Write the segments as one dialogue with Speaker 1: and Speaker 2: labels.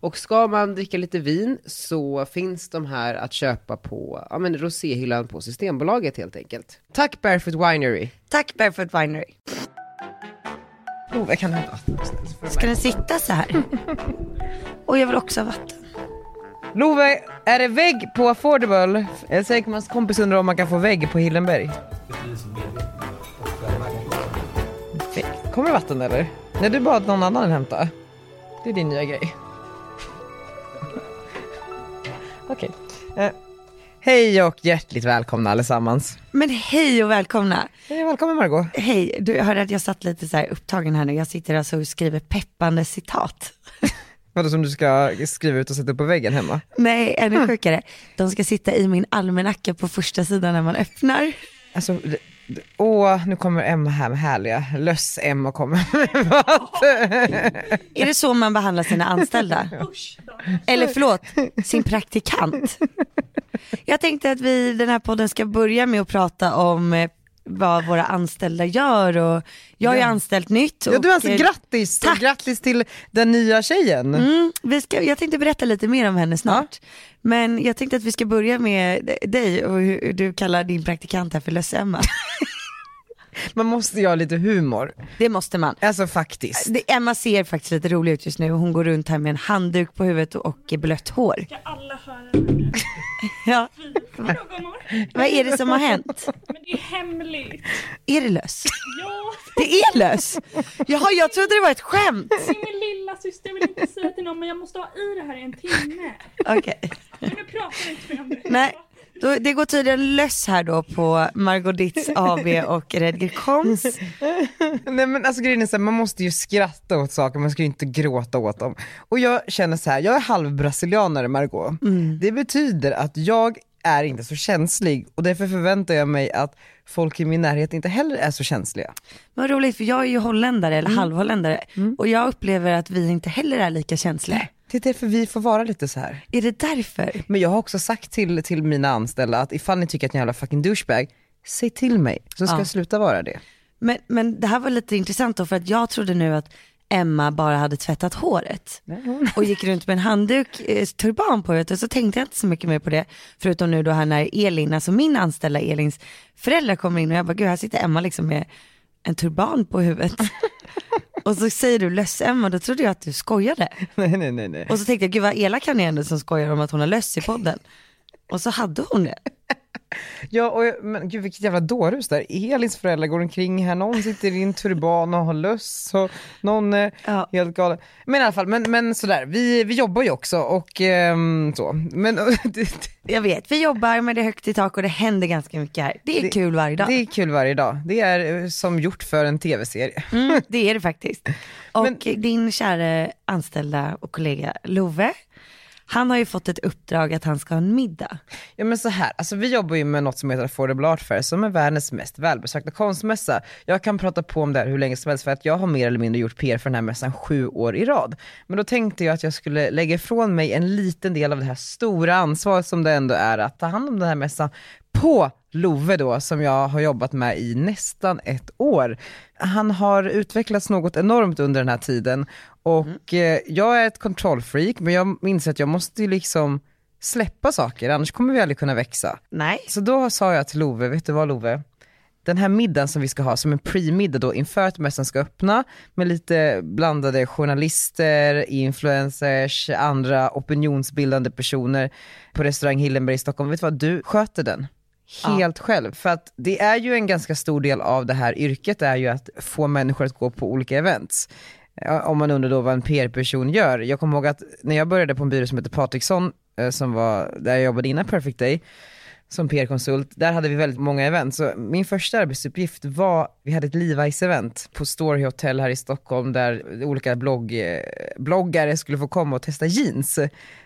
Speaker 1: Och ska man dricka lite vin så finns de här att köpa på ja, men roséhyllan på Systembolaget helt enkelt. Tack Barefoot Winery!
Speaker 2: Tack Barefoot Winery.
Speaker 1: Oh, jag kan hämta vatten.
Speaker 2: Ska den sitta så här? Och jag vill också ha vatten.
Speaker 1: Love, är det vägg på affordable? Jag säger att kompis undrar om man kan få vägg på Hillenberg. Vägg. Kommer det vatten eller? Nej, du bad någon annan hämta. Det är din nya grej. Okej. Eh, hej och hjärtligt välkomna allesammans.
Speaker 2: Men hej och välkomna.
Speaker 1: Hej, välkommen Margot.
Speaker 2: Hej, du jag hörde att jag satt lite så här upptagen här nu. Jag sitter alltså och skriver peppande citat.
Speaker 1: Vadå som du ska skriva ut och sätta upp på väggen hemma?
Speaker 2: Nej, ännu sjukare. De ska sitta i min almanacka på första sidan när man öppnar.
Speaker 1: Alltså, det- det- åh, nu kommer Emma här med härliga löss-Emma kommer med vatten.
Speaker 2: Är det så man behandlar sina anställda? Eller förlåt, sin praktikant. Jag tänkte att vi i den här podden ska börja med att prata om eh, vad våra anställda gör och jag har ju anställt nytt.
Speaker 1: Ja, du,
Speaker 2: och,
Speaker 1: alltså,
Speaker 2: eh,
Speaker 1: grattis! Och
Speaker 2: tack.
Speaker 1: grattis till den nya tjejen.
Speaker 2: Mm, vi ska, jag tänkte berätta lite mer om henne snart. Men jag tänkte att vi ska börja med d- dig och hur hur du kallar din praktikant här för löss-Emma.
Speaker 1: Man måste ju ha lite humor.
Speaker 2: Det måste man.
Speaker 1: Alltså faktiskt.
Speaker 2: Det, Emma ser faktiskt lite rolig ut just nu. Hon går runt här med en handduk på huvudet och, och blött hår.
Speaker 3: ska alla höra nu.
Speaker 2: Ja.
Speaker 3: Frågor,
Speaker 2: Vad är det som har hänt?
Speaker 3: Men det är hemligt.
Speaker 2: Är det löss?
Speaker 3: Ja,
Speaker 2: Det är löss! Jaha, jag trodde det var ett skämt.
Speaker 3: det är min lilla syster. Jag vill inte säga till någon men jag måste ha i det här i en timme.
Speaker 2: Okej,
Speaker 3: Men nu pratar vi inte mer om det.
Speaker 2: nej. Då, det går tydligen löss här då på Margot Ditz AB och Redger Koms.
Speaker 1: Nej men alltså grejen är så här, man måste ju skratta åt saker, man ska ju inte gråta åt dem. Och jag känner så här, jag är halvbrasilianare Margot. Det betyder att jag är inte så känslig och därför förväntar jag mig att folk i min närhet inte heller är så känsliga.
Speaker 2: Vad roligt för jag är ju holländare eller halvholländare och jag upplever att vi inte heller är lika känsliga.
Speaker 1: Det är därför vi får vara lite så här.
Speaker 2: Är det därför?
Speaker 1: Men jag har också sagt till, till mina anställda att ifall ni tycker att ni är en jävla fucking douchebag, säg till mig så ska
Speaker 2: Ja.
Speaker 1: jag sluta vara det.
Speaker 2: Men, men det här var lite intressant då för att jag trodde nu att Emma bara hade tvättat håret och gick runt med en handduk, eh, turban på huvudet och så tänkte jag inte så mycket mer på det förutom nu då här när Elin, alltså min anställda Elins föräldrar kommer in och jag bara gud här sitter Emma liksom med en turban på huvudet och så säger du löss-Emma då trodde jag att du skojade
Speaker 1: Nej nej nej nej.
Speaker 2: och så tänkte jag gud vad elak han är ändå som skojar om att hon har löss i podden och så hade hon det.
Speaker 1: Ja, och, jag- men gud vilket jävla dårhus där. Elins föräldrar går omkring här, någon sitter i en turban och har löss och någon är
Speaker 2: Ja.
Speaker 1: helt galen. Men i alla fall, men, men sådär, vi, vi jobbar ju också och ehm, så. Men det,
Speaker 2: Jag vet, vi jobbar men det är högt i tak och det händer ganska mycket här. Det är
Speaker 1: Det-
Speaker 2: kul varje dag.
Speaker 1: det är kul varje dag. Det är eh, som gjort för en tv-serie.
Speaker 2: Mm, det är det faktiskt. Och din kära anställda och kollega Love, han har ju fått ett uppdrag att han ska ha en middag.
Speaker 1: Ja men så här, alltså vi jobbar ju med något som heter Affordable Art Fair som är världens mest välbesökta konstmässa. Jag kan prata på om det här hur länge som helst för att jag har mer eller mindre gjort PR för den här mässan sju år i rad. Men då tänkte jag att jag skulle lägga ifrån mig en liten del av det här stora ansvaret som det ändå är att ta hand om den här mässan på Love då, som jag har jobbat med i nästan ett år. Han har utvecklats något enormt under den här tiden och eh, jag är ett kontrollfreak men jag inser att jag måste ju liksom släppa saker, annars kommer vi aldrig kunna växa.
Speaker 2: Nej.
Speaker 1: Så då sa jag till Love, vet du vad Love? Den här middagen som vi ska ha som en pre-middag då inför att mässan ska öppna med lite blandade journalister, influencers, andra opinionsbildande personer på restaurang Hillenberg i Stockholm. Vet du vad, du sköter den helt själv. För att det är ju en ganska stor del av det här yrket är ju att få människor att gå på olika events. Ja, Om man undrar då vad en PR-person gör. Jag kommer ihåg att när jag började på en byrå som heter Patriksson, eh, som var där jag jobbade innan Perfect Day, som PR-konsult, där hade vi väldigt många event. Så min första arbetsuppgift var, vi hade ett Levi's-event på Story Hotel här i Stockholm där olika blogg, eh, bloggare skulle få komma och testa jeans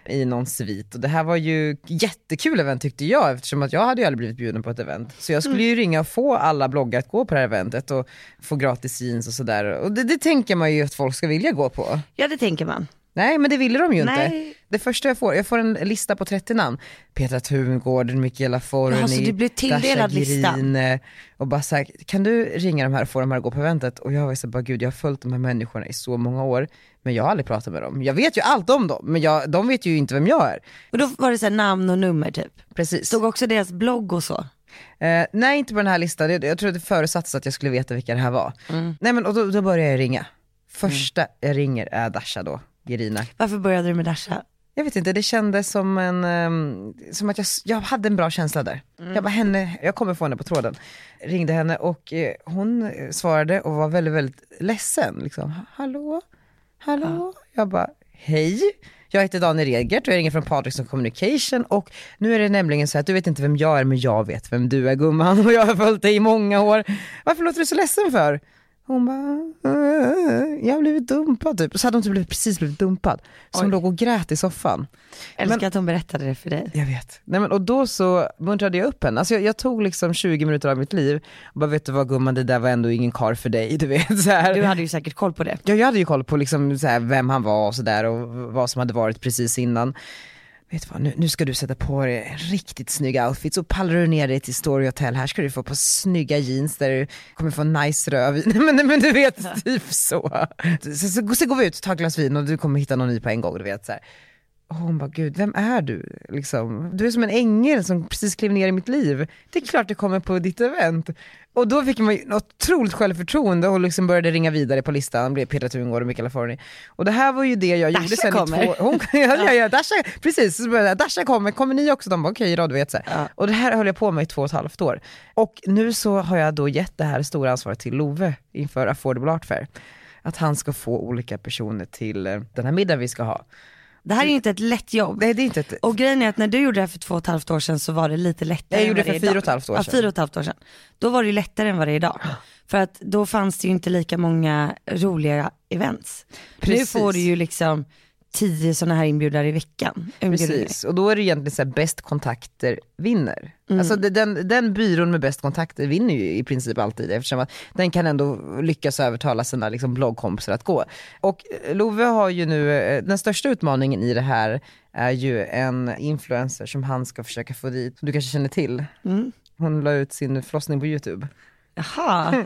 Speaker 1: i någon svit. Och det här var ju jättekul event tyckte jag eftersom att jag hade ju aldrig blivit bjuden på ett event. Så jag skulle ju ringa och få alla bloggare att gå på det här eventet och få gratis jeans och sådär. Och det, det tänker man ju att folk ska vilja gå på.
Speaker 2: Ja det tänker man.
Speaker 1: Nej men det ville de ju inte.
Speaker 2: Nej.
Speaker 1: Det första jag får, jag får en lista på 30 namn. Petra Tungården, Mikaela Forni,
Speaker 2: Jaha, så du blev tilldelad
Speaker 1: Dasha
Speaker 2: listan?
Speaker 1: Girin, eh, Och bara såhär, kan du ringa de här och få dem här att gå på eventet? Och jag var så här, bara gud jag har följt de här människorna i så många år, men jag har aldrig pratat med dem. Jag vet ju allt om dem, men jag, de vet ju inte vem jag är.
Speaker 2: Och då var det så här namn och nummer typ.
Speaker 1: Precis.
Speaker 2: Stod också deras blogg och så.
Speaker 1: Eh, nej inte på den här listan, jag, jag tror att det förutsattes att jag skulle veta vilka det här var.
Speaker 2: Mm.
Speaker 1: Nej men och då, då började jag ringa. Första jag ringer är Dasha då, Gerina,
Speaker 2: Varför började du med Dasha?
Speaker 1: Jag vet inte, det kändes som en, ehm, som att jag, s- jag hade en bra känsla där. Jag bara, henne, jag kommer få henne på tråden. Ringde henne och eh, hon eh, svarade och var väldigt, väldigt ledsen. Liksom, hallå, hallå? Jag bara, hej. Jag heter Daniel Regert och jag ringer från Patrickson Communication och nu är det nämligen så att du vet inte vem jag är men jag vet vem du är gumman och jag har följt dig i många år. Varför låter du så ledsen för? Hon bara, "Eh, jag har blivit dumpad typ. Så hade hon typ blivit- precis blivit dumpad. Så hon låg och grät i soffan.
Speaker 2: Älskar att hon berättade det för dig.
Speaker 1: Jag vet. Nej, men, och då så muntrade jag upp henne. Alltså, jag, jag tog liksom 20 minuter av mitt liv och bara, vet du vad gumman, det där var ändå ingen kar för dig. Du vet, så här.
Speaker 2: Du hade ju säkert koll på det.
Speaker 1: Ja, jag hade ju koll på liksom så här vem han var och sådär och vad som hade varit precis innan. Vet du vad, nu, nu ska du sätta på dig en riktigt snygg outfit så pallar du ner dig till Story Hotel, här ska du få på snygga jeans där du kommer få en nice röv i. Nej, men, nej, men du vet, typ så. Sen så, så, går vi ut och tar ett glas vin och du kommer hitta någon ny på en gång, du vet så här. Och hon bara, gud vem är du? Liksom, du är som en ängel som precis klev ner i mitt liv. Det är klart du kommer på ditt event. Och då fick man ju något otroligt självförtroende och liksom började ringa vidare på listan, blev Petra Tungård och Mikaela Forni. Och det här var ju det jag gjorde
Speaker 2: Dasha
Speaker 1: sen i
Speaker 2: kommer.
Speaker 1: två... Hon, ja, ja, ja, Dasha, precis, så började jag, Dasha kommer, kommer ni också? De bara okej då, du vet så här. Och det här höll jag på med i två och ett halvt år. Och nu så har jag då gett det här stora ansvaret till Love inför Affordable Art Fair. Att han ska få olika personer till eh, den här middagen vi ska ha.
Speaker 2: Det här är ju inte ett lätt jobb.
Speaker 1: Nej det är inte ett
Speaker 2: Och grejen är att när du gjorde det här för två och ett halvt år sedan så var det lite lättare
Speaker 1: Jag gjorde
Speaker 2: än vad
Speaker 1: det för fyra
Speaker 2: är
Speaker 1: och
Speaker 2: idag.
Speaker 1: ett halvt år
Speaker 2: Ja,
Speaker 1: sedan.
Speaker 2: fyra och ett halvt år sedan. Då var det ju lättare än vad det är idag. För att då fanns det ju inte lika många roliga events.
Speaker 1: Precis.
Speaker 2: Nu får du ju liksom tio sådana här inbjudare i veckan. Inbjudningar.
Speaker 1: Precis, och då är det egentligen så här, bäst kontakter vinner. Alltså det- den, den byrån med bäst kontakter vinner ju i princip alltid eftersom att den kan ändå lyckas övertala sina liksom, bloggkompisar att gå. Och eh, Love har ju nu, eh, den största utmaningen i det här är ju en influencer som han ska försöka få dit, som du kanske känner till. Hon la ut sin förlossning på YouTube.
Speaker 2: Jaha,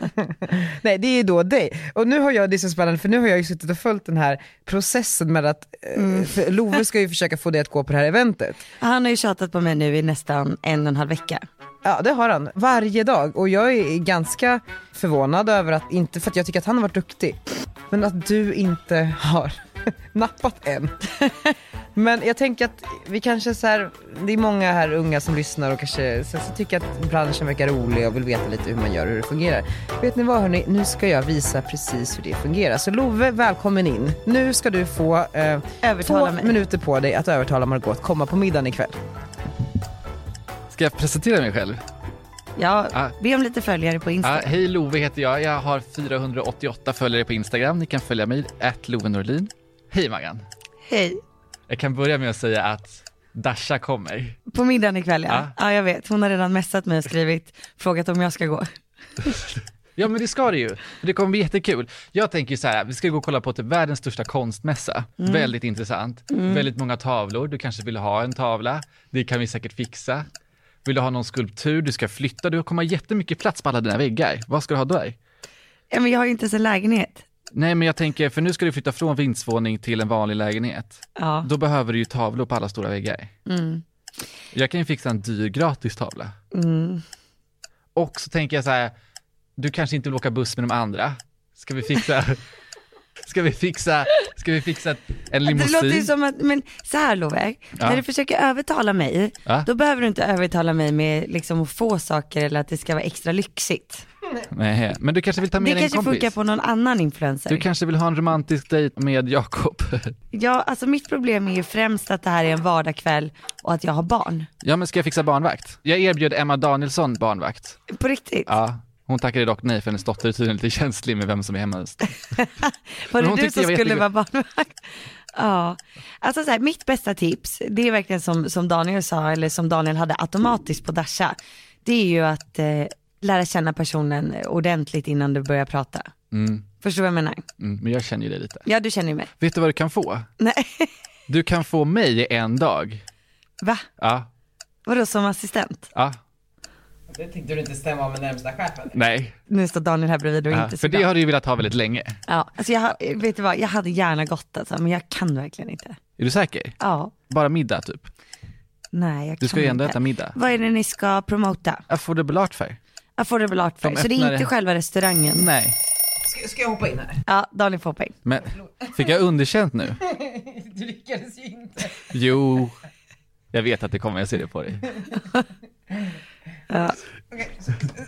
Speaker 1: Nej det är ju då dig. Och nu har jag, det är så spännande för nu har jag ju suttit och följt den här processen med att eh, för Love ska ju försöka få dig att gå på det här eventet.
Speaker 2: han har ju tjatat på mig nu i nästan en och en halv vecka.
Speaker 1: Ja det har han, varje dag. Och jag är ganska förvånad över att, inte för att jag tycker att han har varit duktig, men att du inte har nappat än. Men jag tänker att vi kanske så här, det är många här unga som lyssnar och kanske så, så tycker att branschen verkar rolig och vill veta lite hur man gör och hur det fungerar. Vet ni vad hörni, nu ska jag visa precis hur det fungerar. Så Love, välkommen in. Nu ska du få eh,
Speaker 2: Övertala
Speaker 1: två
Speaker 2: mig.
Speaker 1: minuter på dig att övertala Margot att komma på middagen ikväll.
Speaker 4: Ska jag presentera mig själv?
Speaker 2: Ja,
Speaker 4: Ah.
Speaker 2: be om lite följare på Insta.
Speaker 4: Ja, hej, Love heter jag. Jag har 488 följare på Instagram. Ni kan följa mig, at Love Norlin. Hej Maggan.
Speaker 2: Hej.
Speaker 4: Jag kan börja med att säga att Dasha kommer.
Speaker 2: På middagen ikväll ja.
Speaker 4: Ah.
Speaker 2: Ja jag vet, hon har redan messat mig och skrivit, frågat om jag ska gå.
Speaker 4: Ja men det ska det ju, det kommer bli jättekul. Jag tänker ju så här, vi ska gå och kolla på typ världens största konstmässa. Väldigt intressant. Väldigt många tavlor, du kanske vill ha en tavla, det kan vi säkert fixa. Vill du ha någon skulptur, du ska flytta, du kommer ha jättemycket plats på alla dina väggar. Vad ska du ha där?
Speaker 2: Ja, men jag har ju inte ens en lägenhet.
Speaker 4: Nej men jag tänker, för nu ska du flytta från vindsvåning till en vanlig lägenhet.
Speaker 2: Ja.
Speaker 4: Då behöver du ju tavlor på alla stora väggar.
Speaker 2: Mm.
Speaker 4: Jag kan ju fixa en dyr gratis tavla.
Speaker 2: Mm.
Speaker 4: Och så tänker jag så här, du kanske inte vill åka buss med de andra. Ska vi fixa, ska vi fixa, ska Ska vi fixa ett- en
Speaker 2: Det låter ju
Speaker 4: limousin?
Speaker 2: som att, men så här Love,
Speaker 4: Ja.
Speaker 2: när du försöker övertala mig,
Speaker 4: Ja.
Speaker 2: då behöver du inte övertala mig med liksom att få saker eller att det ska vara extra lyxigt.
Speaker 4: Nej, men du kanske vill ta med
Speaker 2: Det
Speaker 4: dig en
Speaker 2: kanske funkar
Speaker 4: kompis?
Speaker 2: på någon annan influencer.
Speaker 4: Du kanske vill ha en romantisk dejt med Jakob?
Speaker 2: Ja, alltså mitt problem är ju främst att det här är en vardagskväll och att jag har barn.
Speaker 4: Ja, men ska jag fixa barnvakt? Jag erbjöd Emma Danielsson barnvakt.
Speaker 2: På riktigt.
Speaker 4: Ja, hon tackade dock nej för hennes dotter är tydligen lite känslig med vem som är hemma hos.
Speaker 2: Var
Speaker 4: Men
Speaker 2: det
Speaker 4: hon
Speaker 2: du
Speaker 4: tyckte
Speaker 2: som
Speaker 4: jag var
Speaker 2: skulle vara
Speaker 4: jättegod.
Speaker 2: barnvakt? Ja, alltså så här, mitt bästa tips, det är verkligen som, som Daniel sa, eller som Daniel hade automatiskt på Dasha, det är ju att eh, lära känna personen ordentligt innan du börjar prata. Förstår du vad jag menar?
Speaker 4: Mm, men jag känner ju dig lite.
Speaker 2: Ja, du känner ju mig.
Speaker 4: Vet du vad du kan få?
Speaker 2: Nej,
Speaker 4: Du kan få mig i en dag.
Speaker 2: va?
Speaker 4: Ja,
Speaker 2: Vadå som assistent?
Speaker 4: ja,
Speaker 1: Det tyckte du inte stämma med närmsta chefen.
Speaker 4: nej.
Speaker 2: Nu står Daniel här bredvid och är
Speaker 4: Ja,
Speaker 2: inte så
Speaker 4: för det
Speaker 2: bra.
Speaker 4: har du ju velat ha väldigt länge.
Speaker 2: Ja, alltså jag, har- vet du vad, jag hade gärna gått alltså, men jag kan verkligen inte.
Speaker 4: Är du säker?
Speaker 2: Ja,
Speaker 4: Bara middag typ?
Speaker 2: nej jag
Speaker 4: Du ska
Speaker 2: kan
Speaker 4: ju ändå
Speaker 2: inte.
Speaker 4: äta middag.
Speaker 2: Vad är det ni ska promota?
Speaker 4: Affordable art fair?
Speaker 2: Affordable art fair.
Speaker 4: De
Speaker 2: Så det är
Speaker 4: öppnar
Speaker 2: inte
Speaker 4: det-
Speaker 2: själva restaurangen?
Speaker 4: Nej.
Speaker 1: Ska, ska jag hoppa in här?
Speaker 2: Ja, Daniel får poäng.
Speaker 4: Men fick jag underkänt nu?
Speaker 1: Du lyckades ju inte.
Speaker 4: Jo. Jag vet att det kommer, jag ser det på dig.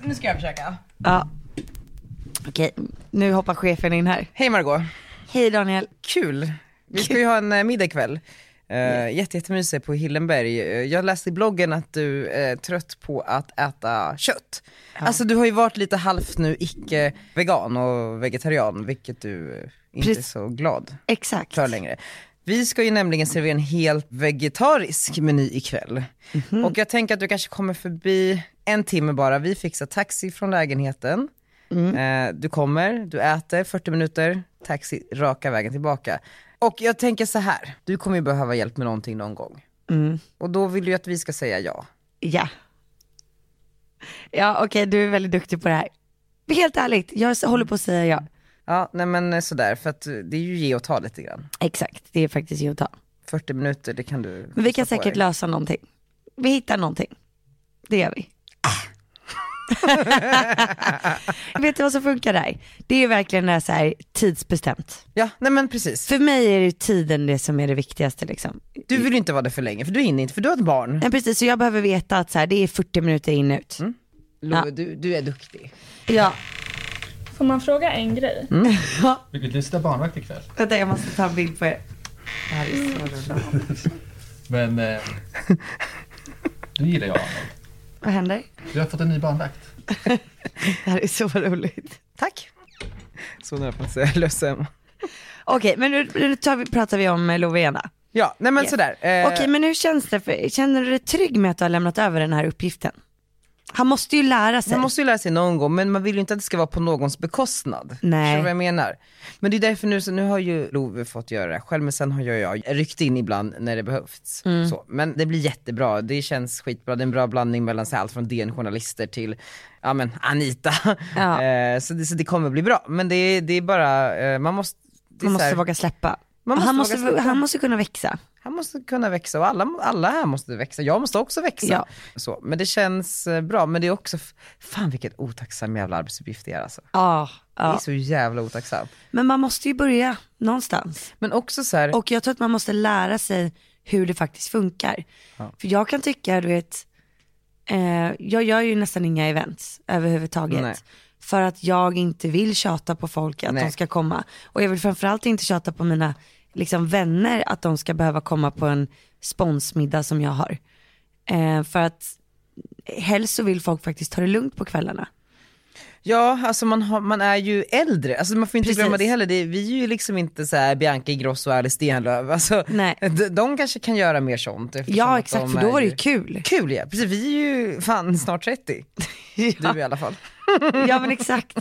Speaker 1: Nu ska jag försöka.
Speaker 2: Ja. Okej, nu hoppar chefen in här.
Speaker 1: Hej Margot.
Speaker 2: Hej Daniel.
Speaker 1: Kul. Vi ska ju ha en eh, middag ikväll. Uh, jätte, jättemysig på Hillenberg. Eh, jag läste i bloggen att du är trött på att äta kött. Alltså du har ju varit lite halvt nu icke vegan och vegetarian, vilket du eh, inte är
Speaker 2: Precis.
Speaker 1: så glad
Speaker 2: Exakt.
Speaker 1: för längre. Vi ska ju nämligen servera en helt vegetarisk meny ikväll.
Speaker 2: Mhm.
Speaker 1: Och jag tänker att du kanske kommer förbi en timme bara. Vi fixar taxi från lägenheten.
Speaker 2: Mm.
Speaker 1: Eh, Du kommer, du äter, 40 minuter, taxi raka vägen tillbaka. Och jag tänker så här, du kommer ju behöva hjälp med någonting någon gång.
Speaker 2: Mm.
Speaker 1: Och då vill du ju att vi ska säga ja.
Speaker 2: Ja. Ja, okej, du är väldigt duktig på det här. Helt ärligt, jag s- håller på att säga ja.
Speaker 1: Ja, nej men eh, sådär, för att eh, det är ju ge och ta lite grann.
Speaker 2: Exakt, det är faktiskt ju att ta.
Speaker 1: 40 minuter, det kan du
Speaker 2: Men vi kan
Speaker 1: kosta på
Speaker 2: säkert
Speaker 1: dig.
Speaker 2: lösa någonting. Vi hittar någonting. Det gör vi. Vet du vad som funkar där? Det är verkligen det här så här tidsbestämt.
Speaker 1: Ja, nej men precis.
Speaker 2: För mig är det ju tiden det som är det viktigaste liksom.
Speaker 1: Du vill ju inte vara där för länge, för du hinner inte, för du har ett barn.
Speaker 2: Nej precis, så jag behöver veta att så här, det är 40 minuter in och ut.
Speaker 1: Mm. Love,
Speaker 2: Ja.
Speaker 1: du, du är duktig.
Speaker 2: Ja,
Speaker 3: Får man fråga en grej?
Speaker 4: Vilket lyssna barnvakt ikväll.
Speaker 2: vänta jag måste ta en bild på er. Det här är så roligt.
Speaker 4: Men... Eh, du gillar jag
Speaker 2: Vad händer?
Speaker 4: Du har fått en ny barnvakt.
Speaker 2: Det här är så roligt.
Speaker 1: Tack. Så nära på att säga lös Emma.
Speaker 2: Okej, men nu, nu tar vi, pratar vi om eh, Lovena.
Speaker 1: Ja, nej men
Speaker 2: Yes.
Speaker 1: sådär. Eh,
Speaker 2: Okej, men hur känns det? För, känner du dig trygg med att du har lämnat över den här uppgiften? Han måste ju lära sig.
Speaker 1: Man måste ju lära sig någon gång, men man vill ju inte att det ska vara på någons bekostnad.
Speaker 2: Nej.
Speaker 1: Förstår du vad jag menar? Men det är därför nu, så nu har ju Love fått göra det här själv, men sen har jag, jag ryckt in ibland när det behövts.
Speaker 2: Mm.
Speaker 1: Så. Men det blir jättebra, det känns skitbra, det är en bra blandning mellan så här, allt från DN journalister till, ja men Anita.
Speaker 2: Ja.
Speaker 1: Eh, så, det, så det kommer bli bra, men det, det är bara, eh, man måste, det är
Speaker 2: Man
Speaker 1: så
Speaker 2: måste
Speaker 1: här,
Speaker 2: våga släppa.
Speaker 1: Man måste
Speaker 2: han,
Speaker 1: våga
Speaker 2: måste,
Speaker 1: släppa.
Speaker 2: han måste kunna växa.
Speaker 1: Han måste kunna växa och alla, alla här måste växa. Jag måste också växa.
Speaker 2: Ja.
Speaker 1: Så, men det kens eh, bra. Men det är också, f- fan vilket otacksam jävla arbetsuppgift det är alltså.
Speaker 2: Ja,
Speaker 1: Det är
Speaker 2: ja.
Speaker 1: så jävla otacksamt.
Speaker 2: Men man måste ju börja någonstans.
Speaker 1: Men också så här,
Speaker 2: Och jag tror att man måste lära sig hur det faktiskt funkar. För jag kan tycka, du vet, eh, jag gör ju nästan inga events överhuvudtaget.
Speaker 1: Nej.
Speaker 2: För att jag inte vill tjata på folk att de
Speaker 1: Nej.
Speaker 2: ska komma. Och jag vill framförallt inte tjata på mina liksom, vänner att de ska behöva komma på en sponsmiddag som jag har. Eh, för att helst så vill folk faktiskt ta det lugnt på kvällarna.
Speaker 1: ja alltså man, har, man är ju äldre. Alltså man får inte
Speaker 2: Precis.
Speaker 1: glömma det heller. Det, är- vi är ju liksom inte så här Bianca Ingrosso och Alice Stenlöf. Alltså,
Speaker 2: Nej.
Speaker 1: De, de kanske kan göra mer sånt. eftersom att
Speaker 2: Ja
Speaker 1: de
Speaker 2: exakt, för
Speaker 1: är
Speaker 2: då var det
Speaker 1: ju-
Speaker 2: ju kul.
Speaker 1: Kul ja, precis. Vi är ju fan snart 30. Du i alla fall.
Speaker 2: Ja men exakt.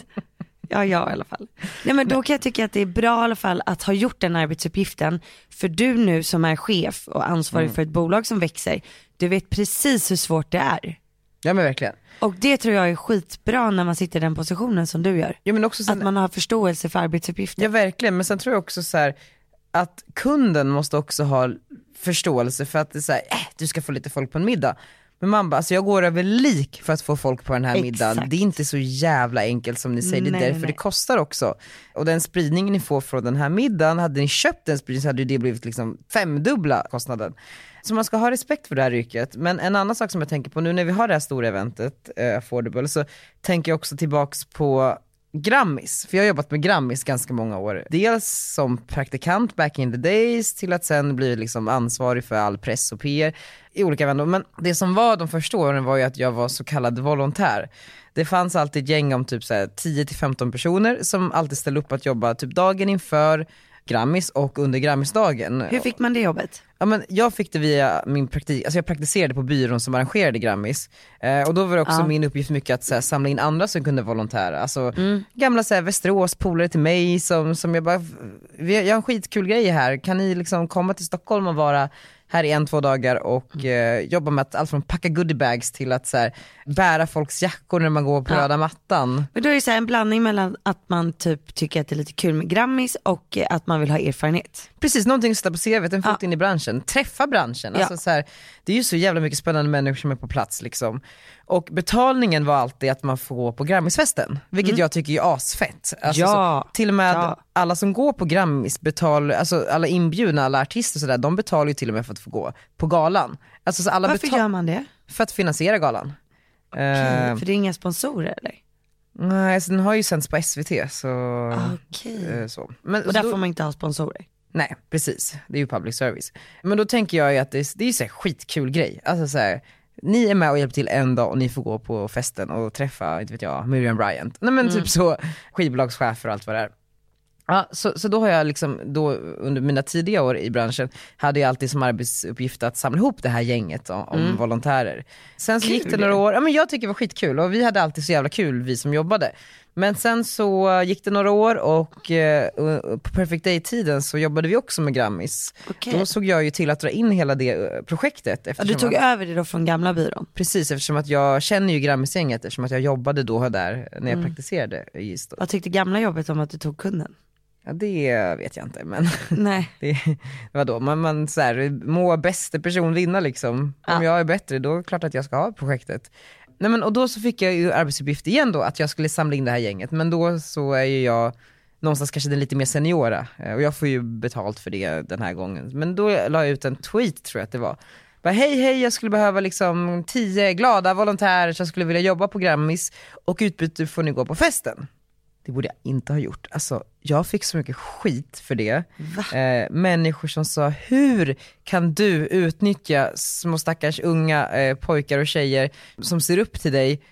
Speaker 2: Ja, jag i alla fall. Nej men då kan jag tycka att det är bra i alla fall att ha gjort den arbetsuppgiften. För du nu som är chef och ansvarig
Speaker 1: Mm.
Speaker 2: för ett bolag som växer, du vet precis hur svårt det är.
Speaker 1: Ja men verkligen.
Speaker 2: Och det tror jag är skitbra när man sitter i den positionen som du gör.
Speaker 1: Ja, men också sen,
Speaker 2: Att man har förståelse för arbetsuppgifter.
Speaker 1: Ja verkligen, men sen tror jag också så här att kunden måste också ha förståelse för att det är så här, äh, du ska få lite folk på en middag. Men man bara, alltså jag går över lik för att få folk på den här
Speaker 2: Exakt.
Speaker 1: middagen. Det är inte så jävla enkelt som ni säger, det är
Speaker 2: Nej,
Speaker 1: därför
Speaker 2: nej,
Speaker 1: det
Speaker 2: nej.
Speaker 1: kostar också. Och den spridning ni får från den här middagen, hade ni köpt en spridning så hade ju det blivit liksom femdubbla kostnaden. Så man ska ha respekt för det här yrket. Men en annan sak som jag tänker på nu när vi har det här stora eventet, eh, Affordable, så tänker jag också tillbaks på Grammis, för jag har jobbat med Grammis ganska många år. Dels som praktikant back in the days till att sen bli liksom ansvarig för all press och PR i olika vändor. Men det som var de första åren var ju att jag var så kallad volontär. Det fanns alltid ett gäng om typ så här 10-15 personer som alltid ställde upp att jobba typ dagen inför Grammis och under Grammisdagen.
Speaker 2: Hur fick man det jobbet?
Speaker 1: Ja, men jag fick det via min praktik, alltså jag praktiserade på byrån som arrangerade Grammis. Eh, och då var det också
Speaker 2: Ja.
Speaker 1: min uppgift mycket att så här, samla in andra som kunde volontära. Alltså
Speaker 2: Mm.
Speaker 1: gamla så här, Västerås, polare till mig som, som jag bara, vi har, jag har en skitkul grej här, kan ni liksom komma till Stockholm och vara här i en, två dagar och
Speaker 2: Mm.
Speaker 1: eh, jobba med att, allt från packa goodiebags till att så här, bära folks jackor när man går på
Speaker 2: Ja.
Speaker 1: röda mattan.
Speaker 2: Men då är det så här en blandning mellan att man typ tycker att det är lite kul med Grammis och eh, att man vill ha erfarenhet.
Speaker 1: Precis, någonting att sätta på CVt, en fot in i branschen, träffa branschen. Alltså
Speaker 2: Ja.
Speaker 1: så här, det är ju så jävla mycket spännande människor som är på plats liksom. Och betalningen var alltid att man får gå på Grammisfesten, vilket jag tycker är asfett. Alltså,
Speaker 2: Mm. Ja,
Speaker 1: så, till och med
Speaker 2: ja.
Speaker 1: alla som går på Grammis, betal, alltså alla inbjudna, alla artister och sådär, de betalar ju till och med för att få gå på galan. Alltså, så alla
Speaker 2: Varför
Speaker 1: betal-
Speaker 2: gör man det?
Speaker 1: För att finansiera galan. Eh,
Speaker 2: För det är inga sponsorer eller?
Speaker 1: nej, alltså, den har ju sänts på SVT så...
Speaker 2: Okej.
Speaker 1: eh, så. Men,
Speaker 2: Och
Speaker 1: så
Speaker 2: där
Speaker 1: då-
Speaker 2: får man inte ha sponsorer.
Speaker 1: Nej, precis. Det är ju public service. Men då tänker jag ju att det, det är ju så här skitkul grej. Alltså så här, ni är med och hjälper till en dag och ni får gå på festen och träffa, inte vet jag, Miriam Bryant. Nej men typ så, skivbolagschefer och allt vad det är. Ja, så, så då har jag liksom, då under mina tidiga år i branschen, hade jag alltid som arbetsuppgift att samla ihop det här gänget om,
Speaker 2: Mm.
Speaker 1: om volontärer. Sen så gick det några år, ja men jag tycker det var skitkul och vi hade alltid så jävla kul vi som jobbade. Men sen så gick det några år och eh, och på Perfect Day-tiden så jobbade vi också med Grammis.
Speaker 2: Okej.
Speaker 1: Då såg jag ju till att dra in hela det eh, projektet.
Speaker 2: Ja, du
Speaker 1: eftersom
Speaker 2: tog
Speaker 1: att-
Speaker 2: över det då från gamla byrån?
Speaker 1: Precis, eftersom att jag känner ju Grammisgänget eftersom att jag jobbade då och där när jag
Speaker 2: Mm.
Speaker 1: praktiserade i Ystad.
Speaker 2: Vad tyckte gamla jobbet om att du tog kunden?
Speaker 1: Ja, det vet jag inte men
Speaker 2: Nej.
Speaker 1: Det, vadå, man, man så här, må bäste person vinna liksom. Om
Speaker 2: Ja.
Speaker 1: jag är bättre då är det klart att jag ska ha projektet. Nej, men, och då så fick jag ju arbetsuppgift igen då, att jag skulle samla in det här gänget. Men då så är ju jag någonstans kanske den lite mer seniora eh, och jag får ju betalt för det den här gången. Men då la jag ut en tweet tror jag att det var. Bara, hej hej, jag skulle behöva liksom tio glada volontärer som skulle vilja jobba på Grammis och i utbyte får ni gå på festen. Det borde jag inte ha gjort. Alltså, jag fick så mycket skit för det. Eh, människor som sa, hur kan du utnyttja små stackars unga eh, pojkar och tjejer som ser upp till dig,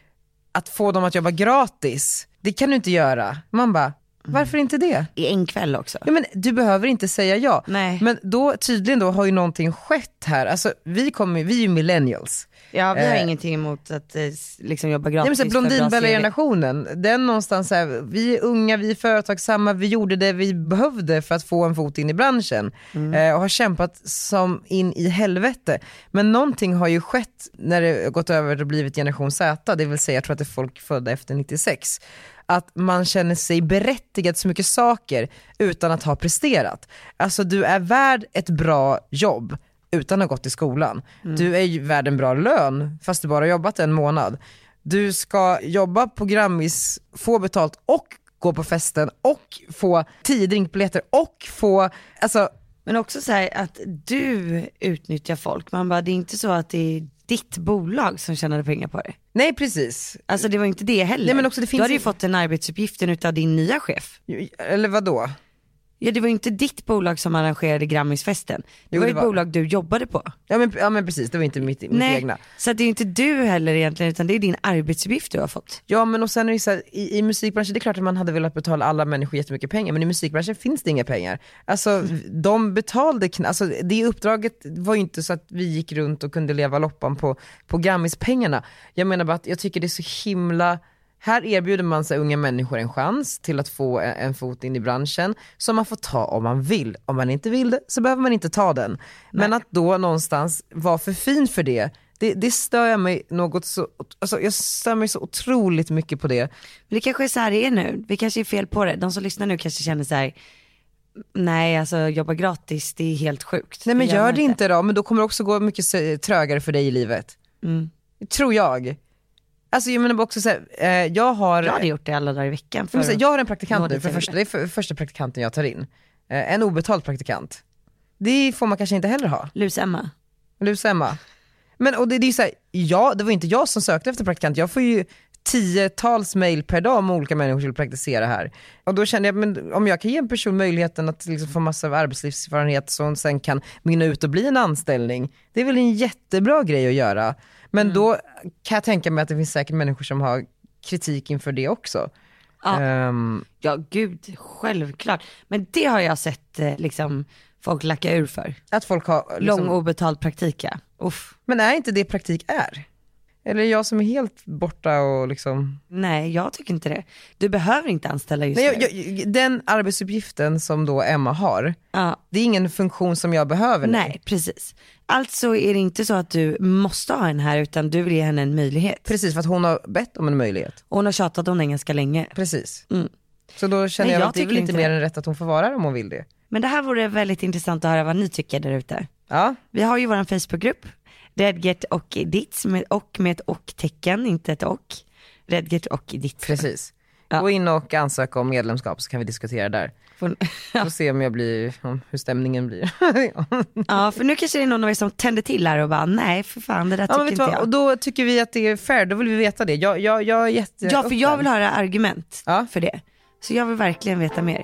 Speaker 1: att få dem att jobba gratis? Det kan du inte göra. Man bara, varför inte det?
Speaker 2: I en kväll också?
Speaker 1: Ja, men du behöver inte säga ja.
Speaker 2: Nej.
Speaker 1: Men då tydligen då har ju någonting skett här. Alltså, vi, kommer, vi är ju millennials.
Speaker 2: Ja vi har
Speaker 1: Eh.
Speaker 2: ingenting emot att eh, s- liksom jobba
Speaker 1: Nej,
Speaker 2: gratis.
Speaker 1: men så här,
Speaker 2: för bra CV.
Speaker 1: Blondinbella-generationen, den någonstans så här, vi är unga, vi är företagsamma, vi gjorde det vi behövde för att få en fot in i branschen
Speaker 2: Mm.
Speaker 1: eh, och har kämpat som in i helvete. Men någonting har ju skett när det har gått över och blivit generation Z, det vill säga jag tror att det är folk födda efter 96 att man känner sig berättigad till så mycket saker utan att ha presterat. Alltså du är värd ett bra jobb utan att ha gått i skolan. Du är ju värd en bra lön fast du bara har jobbat en månad. Du ska jobba på Grammis, få betalt och gå på festen och få tio drinkbiljetter och få, alltså
Speaker 2: Men också så här att du utnyttjar folk. Man bara, det är inte så att det är ditt bolag som tjänade pengar på det.
Speaker 1: nej precis.
Speaker 2: Alltså det var inte det heller.
Speaker 1: Nej, men också det finns
Speaker 2: du hade ju
Speaker 1: ju-
Speaker 2: fått den arbetsuppgiften utav din nya chef.
Speaker 1: Eller vad då?
Speaker 2: Ja det var ju inte ditt bolag som arrangerade Grammisfesten. Det
Speaker 1: Jo,
Speaker 2: var
Speaker 1: det
Speaker 2: ju ett
Speaker 1: var-
Speaker 2: bolag du jobbade på.
Speaker 1: Ja men, ja, men precis, det var inte mitt, mitt
Speaker 2: Nej,
Speaker 1: egna.
Speaker 2: så att det är ju inte du heller egentligen utan det är din arbetsuppgift du har fått.
Speaker 1: Ja men och sen är det ju så här, i, i musikbranschen, det är klart att man hade velat betala alla människor jättemycket pengar, men i musikbranschen finns det inga pengar. Alltså de betalade kn- alltså det uppdraget var ju inte så att vi gick runt och kunde leva loppan på, på Grammispengarna. Jag menar bara att jag tycker det är så himla här erbjuder man sig unga människor en chans till att få en, en fot in i branschen som man får ta om man vill. Om man inte vill det så behöver man inte ta den. Men att då någonstans vara för fin för det, det, det stör jag mig något så, alltså jag stör mig så otroligt mycket på det.
Speaker 2: Men det kanske är så här det är nu. Vi kanske är fel på det. De som lyssnar nu kanske känner så här. Nej alltså jobba gratis det är helt sjukt.
Speaker 1: Nej men
Speaker 2: gör
Speaker 1: gör
Speaker 2: man Mm.
Speaker 1: det inte då, men då kommer det också gå mycket se- trögare för dig i livet. Tror jag. Alltså jag menar bara också såhär, eh, jag har...
Speaker 2: Jag hade gjort det alla dagar i veckan.
Speaker 1: Men så här,
Speaker 2: För...
Speaker 1: jag har en praktikant
Speaker 2: Nådde
Speaker 1: nu, för
Speaker 2: till
Speaker 1: första, det är för, första praktikanten jag tar in. Eh, en obetald praktikant. Det får man kanske inte heller ha.
Speaker 2: Lus-Emma.
Speaker 1: Lusa Emma. Men och det, det är ju såhär, ja, det var inte jag som sökte efter praktikant, jag får ju tiotals mejl per dag om olika människor som vill praktisera här. Och då kände jag, men om jag kan ge en person möjligheten att liksom få massa arbetslivserfarenhet så hon sen kan mynna ut och bli en anställning, det är väl en jättebra grej att göra. Men då kan jag tänka mig att det finns säkert människor som har kritik inför det också.
Speaker 2: Ja.
Speaker 1: Ehm,
Speaker 2: Ja gud, självklart. Men det har jag sett eh, liksom, folk lacka ur för.
Speaker 1: att folk har... liksom-
Speaker 2: Lång obetald praktik ja. Uff.
Speaker 1: Men är inte det praktik är? Eller är jag som är helt borta och liksom...
Speaker 2: Nej jag tycker inte det. Du behöver inte anställa just
Speaker 1: Nej,
Speaker 2: nu.
Speaker 1: jag, jag, den arbetsuppgiften som då Emma har,
Speaker 2: Ja.
Speaker 1: det är ingen funktion som jag behöver nu.
Speaker 2: Nej precis. Alltså är det inte så att du måste ha en här utan du vill ge henne en möjlighet.
Speaker 1: Precis, för att hon har bett om en möjlighet.
Speaker 2: Och Hon har tjatat om den ganska länge.
Speaker 1: Precis.
Speaker 2: Mm.
Speaker 1: Så då känner
Speaker 2: Nej,
Speaker 1: jag,
Speaker 2: jag
Speaker 1: att det är
Speaker 2: tycker
Speaker 1: väl inte
Speaker 2: inte
Speaker 1: mer
Speaker 2: det.
Speaker 1: än rätt att hon får vara här om hon vill det.
Speaker 2: Men det här vore väldigt intressant att höra vad ni tycker där ute.
Speaker 1: Ja,
Speaker 2: Vi har ju vår Facebookgrupp, Redget och Ditts, med, och med ett och-tecken, inte ett och. Redget och Ditts.
Speaker 1: precis.
Speaker 2: Ja.
Speaker 1: Gå in och ansök om medlemskap så kan vi diskutera där.
Speaker 2: Får-
Speaker 1: Får se om jag blir, om hur stämningen blir.
Speaker 2: Ja, för nu kanske det är någon av er som tänder till här och bara, nej för fan det där
Speaker 1: ja, men
Speaker 2: tycker
Speaker 1: vet
Speaker 2: inte
Speaker 1: du vad?
Speaker 2: jag.
Speaker 1: Och då tycker vi att det är fair, då vill vi veta det. Jag, jag, jag är jätte
Speaker 2: Ja, för jag
Speaker 1: öppen.
Speaker 2: vill höra argument
Speaker 1: Ja.
Speaker 2: för det. Så jag vill verkligen veta mer.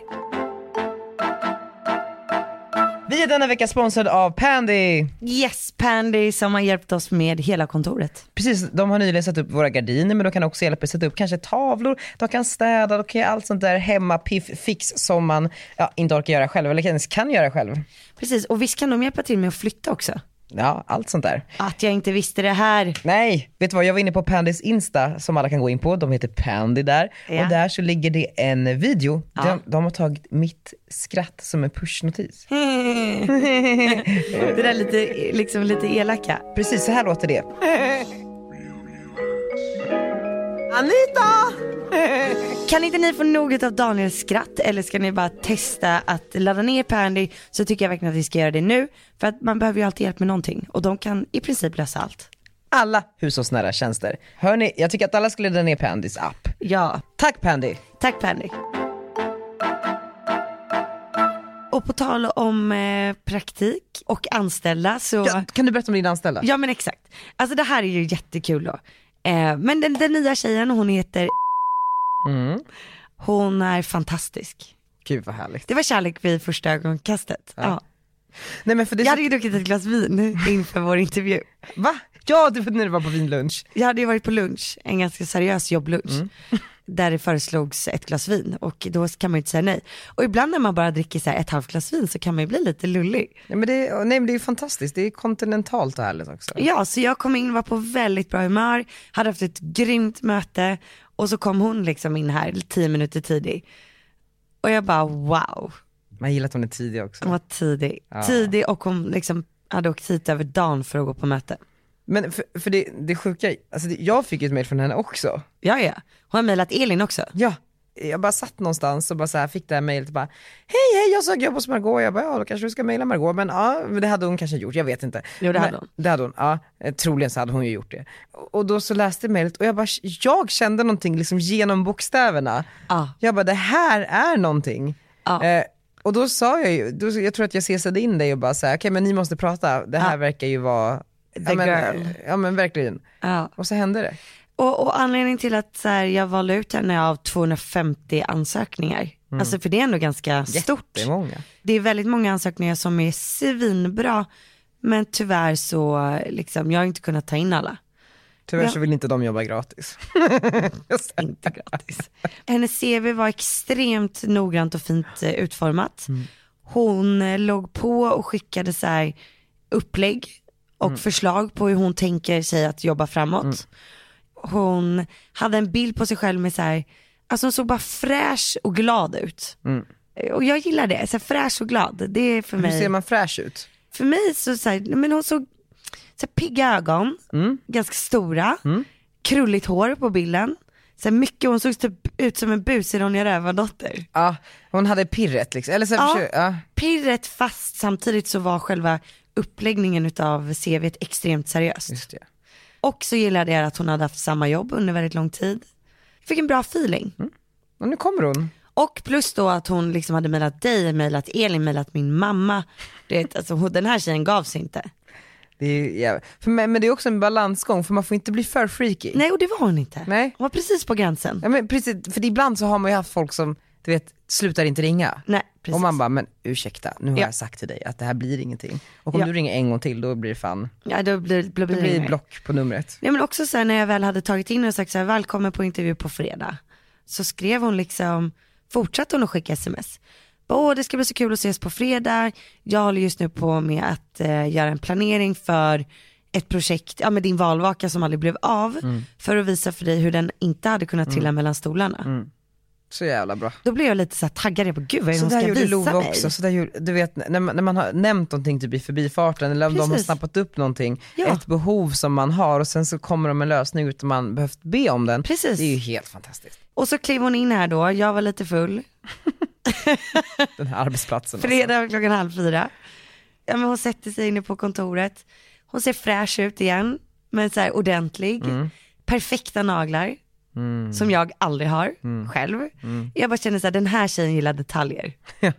Speaker 1: Vi är denna vecka sponsrade av Pandy.
Speaker 2: Yes, Pandy som har hjälpt oss med hela kontoret.
Speaker 1: Precis, de har nyligen satt upp våra gardiner men de kan också hjälpa er sätta upp kanske tavlor, de kan städa, de kan göra allt sånt där hemmapiff fix som man ja, inte orkar göra själv eller ens kan göra själv.
Speaker 2: Precis, och visst kan de hjälpa till med att flytta också?
Speaker 1: Ja, allt sånt där.
Speaker 2: Att jag inte visste det här.
Speaker 1: Nej, vet du vad? Jag var inne på Pandys Insta som alla kan gå in på. De heter Pandy där.
Speaker 2: Ja.
Speaker 1: Och där så ligger det en video.
Speaker 2: Ja.
Speaker 1: De, de har tagit mitt skratt som en pushnotis.
Speaker 2: Det där lite, liksom lite elaka.
Speaker 1: Precis, så här låter det. Anita!
Speaker 2: Kan inte ni få något av Daniels skratt eller ska ni bara testa att ladda ner Pandy så tycker jag verkligen att ni ska göra det nu. För att man behöver ju alltid hjälp med någonting och de kan i princip lösa allt.
Speaker 1: Alla hushållsnära tjänster. Hörni, jag tycker att alla skulle ladda ner Pandys app.
Speaker 2: Ja,
Speaker 1: Tack Pandy!
Speaker 2: tack Pandy. Och på tal om eh, praktik och anställda så
Speaker 1: Ja, kan du berätta om din anställda?
Speaker 2: Ja men exakt. Alltså det här är ju jättekul då. Eh, men den, den nya tjejen, hon heter
Speaker 1: Mm.
Speaker 2: Hon är fantastisk.
Speaker 1: Gud vad härligt.
Speaker 2: Det var kärlek vid första ögonkastet.
Speaker 1: Ja.
Speaker 2: Ja.
Speaker 1: Nej men för det
Speaker 2: Jag hade ju druckit ett glas vin inför vår intervju.
Speaker 1: Va? Ja, det var när du var på vinlunch.
Speaker 2: Jag hade ju varit på lunch, en ganska seriös jobblunch.
Speaker 1: Mm.
Speaker 2: Där det föreslogs ett glas vin och då kan man ju inte säga nej. Och ibland när man bara dricker så här ett halvt glas vin så kan man ju bli lite lullig.
Speaker 1: Nej men det, nej, men det är ju fantastiskt, det är kontinentalt och härligt också.
Speaker 2: Ja, så jag kom in, var på väldigt bra humör, hade haft ett grymt möte och så kom hon liksom in här tio minuter tidig. Och jag bara wow,
Speaker 1: Man gillar att hon är tidig också.
Speaker 2: hon var tidig.
Speaker 1: Ja.
Speaker 2: Tidig och hon liksom hade åkt hit över dagen för att gå på möte.
Speaker 1: Men för, för det, det sjuka, alltså det, jag fick ju ett mejl från henne också.
Speaker 2: Ja, ja. Hon har mejlat Elin också.
Speaker 1: Ja. Jag bara satt någonstans och bara så här fick det här mejlet och bara hej hej jag söker jobb hos Margot jag bara ja då kanske du ska mejla Margot men ja men det hade hon kanske gjort jag vet inte.
Speaker 2: Jo, det hade
Speaker 1: Men-
Speaker 2: hon.
Speaker 1: Det hade hon, ja eh, troligen så hade hon ju gjort det. Och och då så läste jag mejlet och jag bara jag kände någonting liksom genom bokstäverna.
Speaker 2: Ja.
Speaker 1: Jag bara det här är någonting.
Speaker 2: Ja.
Speaker 1: Eh, och då sa jag ju, då, jag tror att jag cesade in dig och bara såhär, okej men ni måste prata, det här
Speaker 2: Ja.
Speaker 1: verkar ju vara The ja, men,
Speaker 2: girl.
Speaker 1: ja men verkligen.
Speaker 2: Ja.
Speaker 1: Och så hände det.
Speaker 2: Och, och anledningen till att så här, jag valde ut henne av 250 ansökningar, alltså för det är ändå ganska stort.
Speaker 1: Jättemånga.
Speaker 2: Det är väldigt många ansökningar som är svinbra, men tyvärr så eh, liksom, jag har inte kunnat ta in alla.
Speaker 1: Tyvärr
Speaker 2: Ja.
Speaker 1: så vill inte de jobba gratis.
Speaker 2: Inte gratis. Hennes CV var extremt noggrant och fint eh, utformat. Hon eh, låg på och skickade så här upplägg och förslag på hur hon tänker sig att jobba framåt. Hon hade en bild på sig själv med så här, alltså hon såg bara fräsch och glad ut. Eh, Och jag gillar det, så här, fräsch och glad. Det är för
Speaker 1: Hur
Speaker 2: mig
Speaker 1: ser man fräsch ut?
Speaker 2: för mig så, så här, men hon såg så här, pigga ögon,
Speaker 1: Mm.
Speaker 2: ganska stora, krulligt hår på bilden. Så här, mycket, hon såg typ ut som en busig Ronja Rövardotter.
Speaker 1: Ja, hon hade pirret liksom. Eller så här,
Speaker 2: Ja.
Speaker 1: försö- ja.
Speaker 2: Pirret fast samtidigt så var själva uppläggningen utav CVt extremt seriöst.
Speaker 1: just det.
Speaker 2: Och så gillade jag att hon hade haft samma jobb under väldigt lång tid. Jag fick en bra feeling.
Speaker 1: Mm. Och nu kommer hon.
Speaker 2: Och plus då att hon liksom hade mejlat dig, mejlat Elin, mejlat min mamma. Du vet, alltså, hon- den här tjejen gav sig inte.
Speaker 1: Det är, ju jävla- för mig, men det är också en balansgång för man får inte bli för freaky.
Speaker 2: Nej och det var hon inte.
Speaker 1: Nej.
Speaker 2: Hon var precis på gränsen.
Speaker 1: Ja, men precis, för ibland så har man ju haft folk som, du vet, slutar inte ringa.
Speaker 2: Nej, precis.
Speaker 1: Och man bara, men ursäkta, nu har
Speaker 2: Ja.
Speaker 1: jag sagt till dig att det här blir ingenting. Och om
Speaker 2: Ja.
Speaker 1: du ringer en gång till då blir det fan,
Speaker 2: Ja, då blir, då
Speaker 1: det
Speaker 2: blir
Speaker 1: blir
Speaker 2: inget.
Speaker 1: block på numret.
Speaker 2: Ja, men också så här, när jag väl hade tagit in och sagt så här, välkommen på intervju på fredag. Så skrev hon liksom, fortsatte hon att skicka sms. Bara, Åh det ska bli så kul att ses på fredag. Jag håller just nu på med att eh, göra en planering för ett projekt, ja med din valvaka som aldrig blev av.
Speaker 1: Mm.
Speaker 2: För att visa för dig hur den inte hade kunnat trilla mellan stolarna.
Speaker 1: Så jävla bra.
Speaker 2: Då blev jag lite så här taggad, jag bara gud vad är
Speaker 1: Mm.
Speaker 2: det
Speaker 1: Så
Speaker 2: hon
Speaker 1: där
Speaker 2: ska
Speaker 1: gjorde Love
Speaker 2: visa mig?
Speaker 1: också, så där gjorde, du vet när man, när man har nämnt någonting typ i förbifarten eller om de har
Speaker 2: Precis.
Speaker 1: snappat upp någonting,
Speaker 2: Ja.
Speaker 1: ett behov som man har och sen så kommer de med en lösning utan man behövt be om den.
Speaker 2: Precis.
Speaker 1: Det är ju helt fantastiskt,
Speaker 2: Och så klev hon in här då, jag var lite full.
Speaker 1: den här arbetsplatsen. Alltså.
Speaker 2: Fredag klockan halv fyra. Ja, men hon sätter sig inne på kontoret. Hon ser fräsch ut igen, men så här ordentlig. Perfekta naglar,
Speaker 1: Mm.
Speaker 2: som jag aldrig har själv. Jag bara känner så här, den här tjejen gillar detaljer. Nej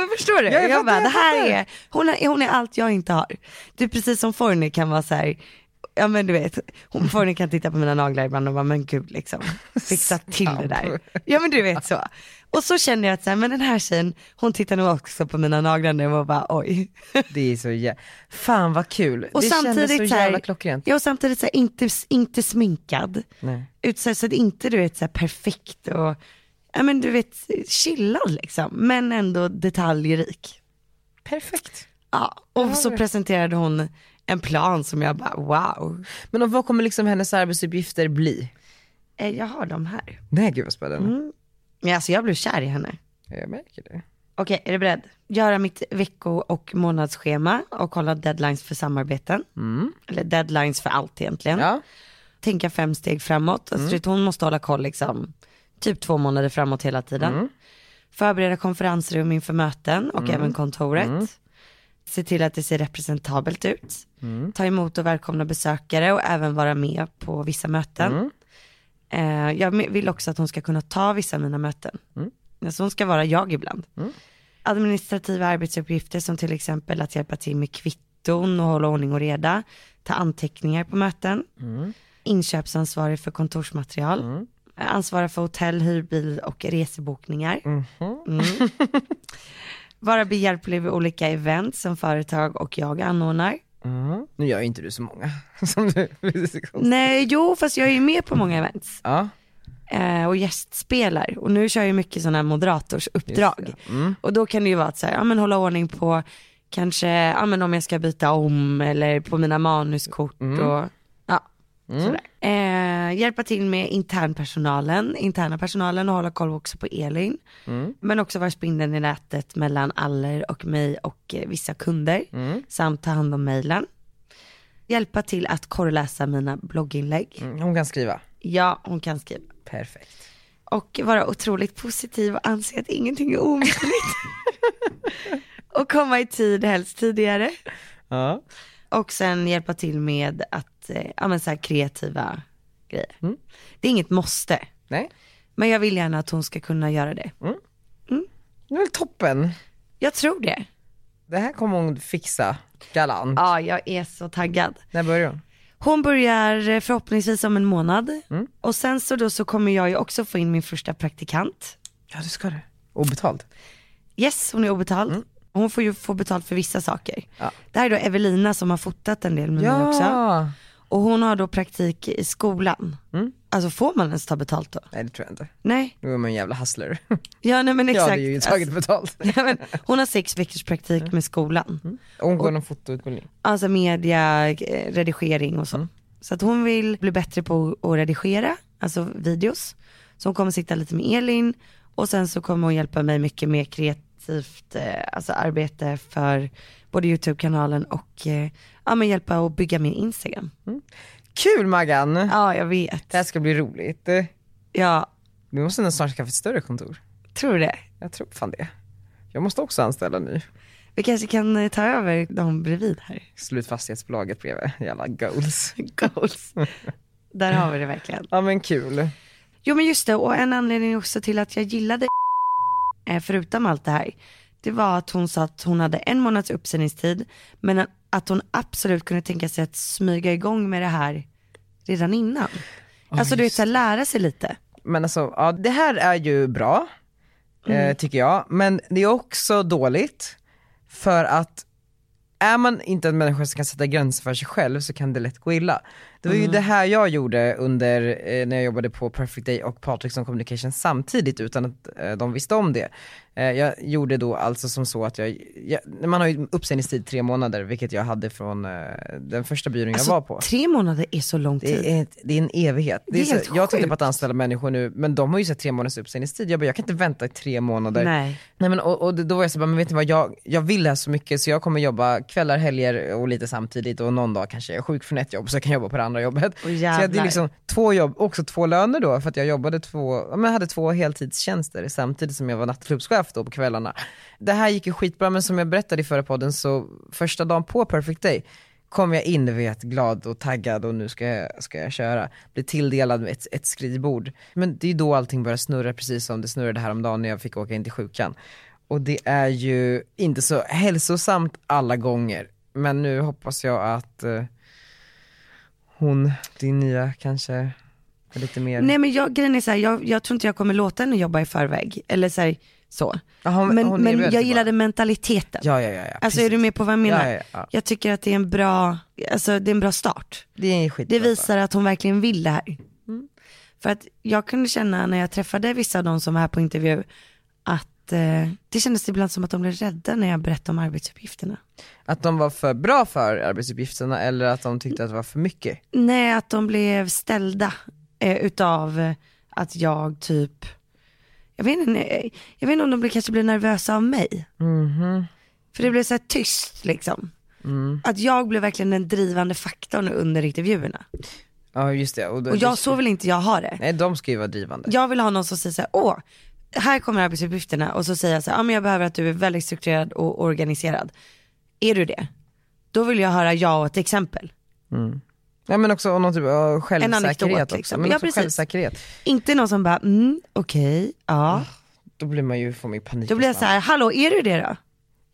Speaker 2: men förstår du?
Speaker 1: Ja, jag
Speaker 2: jag
Speaker 1: fattar,
Speaker 2: bara,
Speaker 1: jag
Speaker 2: det här
Speaker 1: fattar.
Speaker 2: är, hon är, hon är allt jag inte har. Det är precis som Forni kan vara så här, ja men du vet, hon, Forni kan titta på mina naglar ibland och bara, men gud liksom, fixa till det där. Ja men du vet så. Och så känner jag att så här, men den här tjejen, hon tittar nog också på mina naglar nu och bara oj.
Speaker 1: Det är så jä... fan vad kul,
Speaker 2: Och
Speaker 1: det kändes
Speaker 2: samtidigt
Speaker 1: så
Speaker 2: så här-
Speaker 1: jävla klockrent.
Speaker 2: Ja och samtidigt så här, inte, inte sminkad,
Speaker 1: Nej.
Speaker 2: ut, så, här, så att inte du vet så här, perfekt och, ja men du vet, chillad liksom, men ändå detaljrik.
Speaker 1: Perfekt.
Speaker 2: Ja, och så presenterade hon en plan som jag bara wow,
Speaker 1: Men och vad kommer liksom hennes arbetsuppgifter bli?
Speaker 2: Eh, jag har dem här.
Speaker 1: Nej gud vad spännande.
Speaker 2: Men alltså jag blev kär i henne.
Speaker 1: Jag märker det.
Speaker 2: Okej, är du beredd? Göra mitt vecko och månadsschema och kolla deadlines för samarbeten. Eller deadlines för allt egentligen.
Speaker 1: Ja.
Speaker 2: Tänka fem steg framåt. Alltså, du vet, hon måste hålla koll liksom, typ två månader framåt hela tiden. Förbereda konferensrum inför möten och även kontoret. Se till att det ser representabelt ut. Ta emot och välkomna besökare och även vara med på vissa möten. Eh, jag me- vill också att hon ska kunna ta vissa av mina möten. Alltså hon ska vara jag ibland. Administrativa arbetsuppgifter som till exempel att hjälpa till med kvitton och hålla ordning och reda. Ta anteckningar på möten. Inköpsansvarig för kontorsmaterial. Ansvara för hotell, hyrbil och resebokningar. Mm. Vara behjälplig vid olika event som företag och jag anordnar.
Speaker 1: Nu gör ju inte du så många som du
Speaker 2: Nej, jo fast jag är ju med på många events.
Speaker 1: Ja,
Speaker 2: eh, och gästspelar. Och nu kör jag ju mycket sådana här moderatorsuppdrag. Och då kan det ju vara att så här, ja, men hålla ordning på kanske ja, men om jag ska byta om eller på mina manuskort och ja. sådär. Eh, hjälpa till med internpersonalen, interna personalen och hålla koll också på Elin. Men också vara spindeln i nätet mellan Aller och mig och eh, vissa kunder. Samt ta hand om mejlen. Hjälpa till att korreläsa mina blogginlägg.
Speaker 1: Mm, hon kan skriva.
Speaker 2: Ja, hon kan skriva
Speaker 1: Perfekt.
Speaker 2: och vara otroligt positiv och anse att ingenting är omöjligt. och komma i tid, helst tidigare.
Speaker 1: Ja.
Speaker 2: Och sen hjälpa till med att, eh, ja men så här kreativa grejer. Det är inget måste,
Speaker 1: Nej,
Speaker 2: men jag vill gärna att hon ska kunna göra det.
Speaker 1: det är väl toppen.
Speaker 2: Jag tror det.
Speaker 1: Det här kommer hon fixa galant.
Speaker 2: Ja, jag är så taggad.
Speaker 1: När börjar hon?
Speaker 2: Hon börjar eh, förhoppningsvis om en månad. Och sen så då så kommer jag ju också få in min första praktikant.
Speaker 1: Ja du ska det. Obetalt.
Speaker 2: Yes, hon är obetald. Hon får ju få betalt för vissa saker.
Speaker 1: Mm. Ja.
Speaker 2: Det här är då Evelina som har fotat en del med mig också.
Speaker 1: Ja.
Speaker 2: Och hon har då praktik i skolan.
Speaker 1: Mm.
Speaker 2: Alltså får man ens ta betalt då?
Speaker 1: Nej det tror jag inte.
Speaker 2: Nej.
Speaker 1: Då är man en jävla hustler.
Speaker 2: Ja nej men
Speaker 1: Jag
Speaker 2: exakt.
Speaker 1: hade ju Mm. tagit betalt.
Speaker 2: Alltså, ja, men hon har sex veckors praktik med skolan.
Speaker 1: Hon går någon fotoutbildning.
Speaker 2: Alltså media, eh, redigering och så. Så att hon vill bli bättre på att redigera, alltså videos. Så hon kommer sitta lite med Elin och sen så kommer hon hjälpa mig mycket mer kreativt eh, alltså arbete för både YouTube-kanalen och eh, ja, men hjälpa att bygga min Instagram.
Speaker 1: Kul Maggan!
Speaker 2: Ja, jag vet.
Speaker 1: Det här ska bli roligt.
Speaker 2: Jag
Speaker 1: Vi måste nog snart skaffa ett större kontor.
Speaker 2: tror det.
Speaker 1: Jag tror fan det. Jag måste också anställa nu.
Speaker 2: Vi kanske kan eh, ta över dem bredvid här.
Speaker 1: Slut fastighetsbolaget bredvid, jävla goals.
Speaker 2: Goals. Där har vi det verkligen.
Speaker 1: Ja men kul.
Speaker 2: Jo men just det, och en anledning också till att jag gillade eh, förutom allt det här, det var att hon sa att hon hade en månads uppsägningstid, men att hon absolut kunde tänka sig att smyga igång med det här redan innan. alltså du vet,
Speaker 1: just
Speaker 2: så här, lära sig lite.
Speaker 1: Men alltså, ja, det här är ju bra, eh, tycker jag. Men det är också dåligt, för att är man inte en människa som kan sätta gränser för sig själv så kan det lätt gå illa. Det var ju det här jag gjorde under, eh, när jag jobbade på Perfect Day och Patrickson Communication samtidigt utan att eh, de visste om det. Eh, jag gjorde då alltså som så att jag, jag man har ju uppsägningstid tre månader vilket jag hade från eh, den första byrån
Speaker 2: Alltså,
Speaker 1: jag var på.
Speaker 2: Tre månader är så lång tid.
Speaker 1: Det är, ett, det är en evighet. Det är
Speaker 2: Typ. Det är helt
Speaker 1: så, jag tittar
Speaker 2: sjukt.
Speaker 1: på att anställa människor nu, men de har ju sett tre månaders uppsägningstid. Jag bara, jag kan inte vänta i tre månader.
Speaker 2: Nej.
Speaker 1: Nej, men, och, och då var jag så bara, men vet ni vad, jag, jag vill det här så mycket så jag kommer jobba kvällar, helger och lite samtidigt och någon dag kanske jag är sjuk från ett jobb så jag kan jobba på det andra jobbet.
Speaker 2: Åh,
Speaker 1: så jag hade
Speaker 2: jävlar.
Speaker 1: liksom två jobb, också två löner då för att jag jobbade två, ja, men jag hade två heltidstjänster samtidigt som jag var nattklubbschef då på kvällarna. Det här gick ju skitbra men som jag berättade i förra podden så första dagen på Perfect Day kom jag in du vet glad och taggad och nu ska jag, ska jag köra. Blir tilldelad med ett, ett skrivbord. Men det är ju då allting börjar snurra precis som det snurrade häromdagen när jag fick åka in till sjukan. Och det är ju inte så hälsosamt alla gånger. Men nu hoppas jag att eh, hon, din nya kanske, är lite mer...
Speaker 2: Nej men jag, grejen är så här, jag, jag tror inte jag kommer låta henne jobba i förväg. Eller så. Här, så.
Speaker 1: Ja, hon-
Speaker 2: men
Speaker 1: hon
Speaker 2: men
Speaker 1: erbjöd
Speaker 2: jag
Speaker 1: sig
Speaker 2: gillade
Speaker 1: bara.
Speaker 2: mentaliteten.
Speaker 1: Ja, ja, ja. ja
Speaker 2: alltså är du med på vad jag menar?
Speaker 1: Ja, ja, ja.
Speaker 2: Jag tycker att det är en bra, alltså det är en bra start.
Speaker 1: Det är skit.
Speaker 2: Det visar att hon verkligen vill det här. För att jag kunde känna när jag träffade vissa av de som var här på intervju att eh, det kändes ibland som att de blev rädda när jag berättade om arbetsuppgifterna.
Speaker 1: Att de var för bra för arbetsuppgifterna eller att de tyckte att det var för mycket.
Speaker 2: Nej, att de blev ställda eh, utav eh, att jag typ, jag vet inte, nej, jag vet inte om de blev, kanske blev nervösa av mig. För det blev så här tyst liksom. Att jag blev verkligen den drivande faktorn under intervjuerna.
Speaker 1: Ja just det. Och, då-
Speaker 2: Och jag, så vill inte jag ha det.
Speaker 1: Nej de ska ju vara drivande.
Speaker 2: Jag vill ha någon som säger så här, åh, här kommer arbetsuppgifterna och så säger jag så här, ja men jag behöver att du är väldigt strukturerad och organiserad. Är du det? Då vill jag höra ja och ett exempel.
Speaker 1: Ja men också någon typ av självsäkerhet
Speaker 2: anekdot,
Speaker 1: också.
Speaker 2: liksom.
Speaker 1: Men
Speaker 2: Ja,
Speaker 1: också
Speaker 2: precis.
Speaker 1: självsäkerhet.
Speaker 2: Inte någon som bara, mm, okej, ja.
Speaker 1: Då blir man ju, får man ju panik. liksom.
Speaker 2: Då blir jag
Speaker 1: nästan.
Speaker 2: så här, hallå är du det då?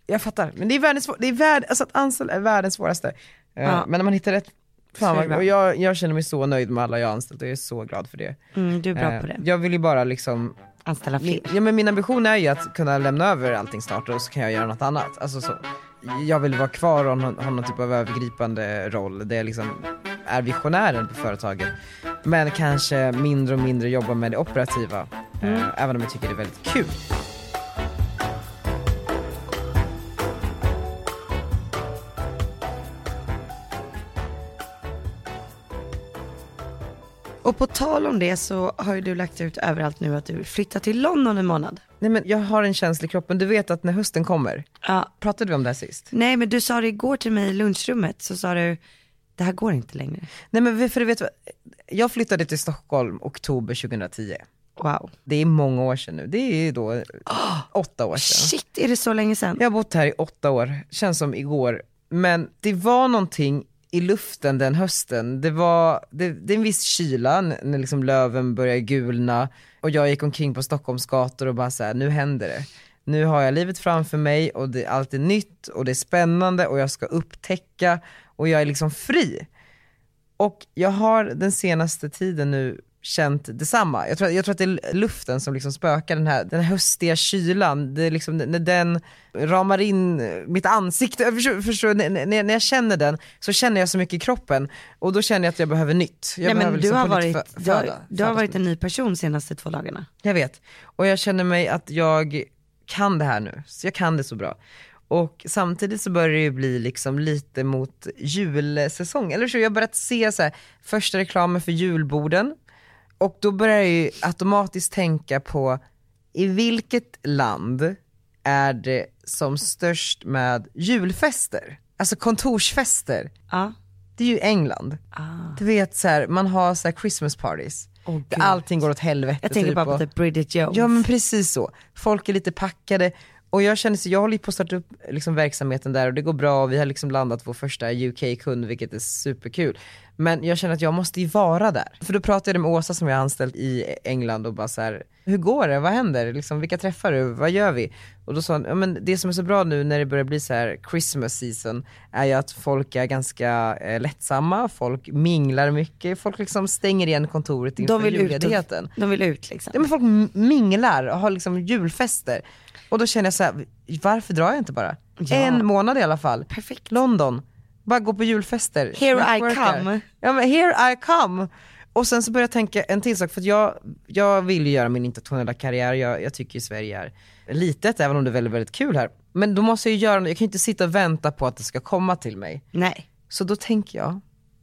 Speaker 1: Jag fattar, men det är världens, svår- det är värld, alltså att anställa är världens svåraste. Eh,
Speaker 2: Ja.
Speaker 1: Men när man hittar rätt,
Speaker 2: Så
Speaker 1: fan
Speaker 2: är
Speaker 1: vad,
Speaker 2: det bra.
Speaker 1: och jag, jag känner mig så nöjd med alla jag har anställt och jag är så glad för det.
Speaker 2: Mm, du är bra
Speaker 1: Eh,
Speaker 2: på det.
Speaker 1: Jag vill ju bara liksom,
Speaker 2: Anställa fler.
Speaker 1: ja, men min ambition är ju att kunna lämna över allting snart och så kan jag göra något annat. Alltså så, jag vill vara kvar och ha, ha någon typ av övergripande roll där jag liksom är visionären på företaget. Men kanske mindre och mindre jobba med det operativa. eh, Även om jag tycker det är väldigt kul.
Speaker 2: Och på tal om det så har ju du lagt ut överallt nu att du flyttar till London en månad.
Speaker 1: Nej men jag har en känslig kropp, men du vet att när hösten kommer,
Speaker 2: Ja.
Speaker 1: pratade vi om det här sist?
Speaker 2: Nej men du sa det igår till mig i lunchrummet så sa du, det här går inte längre.
Speaker 1: Nej men för du vet vad, jag flyttade till Stockholm oktober 2010.
Speaker 2: Wow.
Speaker 1: Det är många år sedan nu, det är ju då Ah! åtta år sedan.
Speaker 2: Shit, är det så länge sedan?
Speaker 1: Jag har bott här i åtta år, känns som igår. Men det var någonting i luften den hösten. Det var, det, det är en viss kyla n- när liksom löven börjar gulna och jag gick omkring på Stockholms gator och bara så här, nu händer det. Nu har jag livet framför mig och det, allt är nytt och det är spännande och jag ska upptäcka och jag är liksom fri. Och jag har den senaste tiden nu känt detsamma. Jag tror, jag tror att det är luften som liksom spökar, den här, den här höstiga kylan. Det är liksom, när den ramar in eh, mitt ansikte, Jag förstår, förstår, när, när när jag känner den så känner jag så mycket i kroppen och då känner jag att jag behöver nytt. Jag
Speaker 2: Nej, men
Speaker 1: behöver
Speaker 2: du,
Speaker 1: liksom
Speaker 2: har
Speaker 1: på nytt
Speaker 2: varit,
Speaker 1: fö-
Speaker 2: du, har,
Speaker 1: föda-
Speaker 2: du har
Speaker 1: födas
Speaker 2: varit
Speaker 1: på
Speaker 2: en ny person senaste två dagarna.
Speaker 1: jag vet. Och jag känner mig att jag kan det här nu. Så jag kan det så bra. Och samtidigt så börjar det ju bli liksom lite mot julsäsong. Eller så jag har börjat se så här, första reklamen för julborden. Och då börjar jag ju automatiskt tänka på i vilket land är det som störst med julfester? Alltså kontorsfester.
Speaker 2: Ja.
Speaker 1: Det är ju England. Du vet så här, man har så här Christmas parties.
Speaker 2: Åh,
Speaker 1: Där
Speaker 2: Ah. Gud.
Speaker 1: allting går åt helvete.
Speaker 2: Jag tänker
Speaker 1: typ,
Speaker 2: bara på
Speaker 1: och-
Speaker 2: typ Bridget Jones.
Speaker 1: Ja men precis så. Folk är lite packade Och jag känner så, jag håller ju på att starta upp liksom verksamheten där och det går bra och vi har liksom landat vår första UK-kund vilket är superkul. Men jag känner att jag måste ju vara där. För då pratade jag med Åsa som jag har anställt i England och bara så här, hur går det, vad händer, liksom, vilka träffar du, vad gör vi? Och då sa hon, ja men det som är så bra nu när det börjar bli så här Christmas season är ju att folk är ganska eh, lättsamma, folk minglar mycket, folk liksom stänger igen kontoret inför
Speaker 2: De vill, ut
Speaker 1: julledigheten.
Speaker 2: och, de vill ut liksom.
Speaker 1: Ja, men folk m- minglar och har liksom julfester. Och då känner jag så här, varför drar jag inte bara?
Speaker 2: Ja.
Speaker 1: En månad i alla fall.
Speaker 2: Perfekt.
Speaker 1: London, bara gå på julfester.
Speaker 2: Here I
Speaker 1: Networkar.
Speaker 2: come.
Speaker 1: Ja men here I come. Och sen så började jag tänka en till sak, för att jag, jag vill ju göra min internationella karriär, jag, jag tycker ju Sverige är litet även om det är väldigt, väldigt kul här. Men då måste jag ju göra något, jag kan ju inte sitta och vänta på att det ska komma till mig.
Speaker 2: Nej.
Speaker 1: Så då tänker jag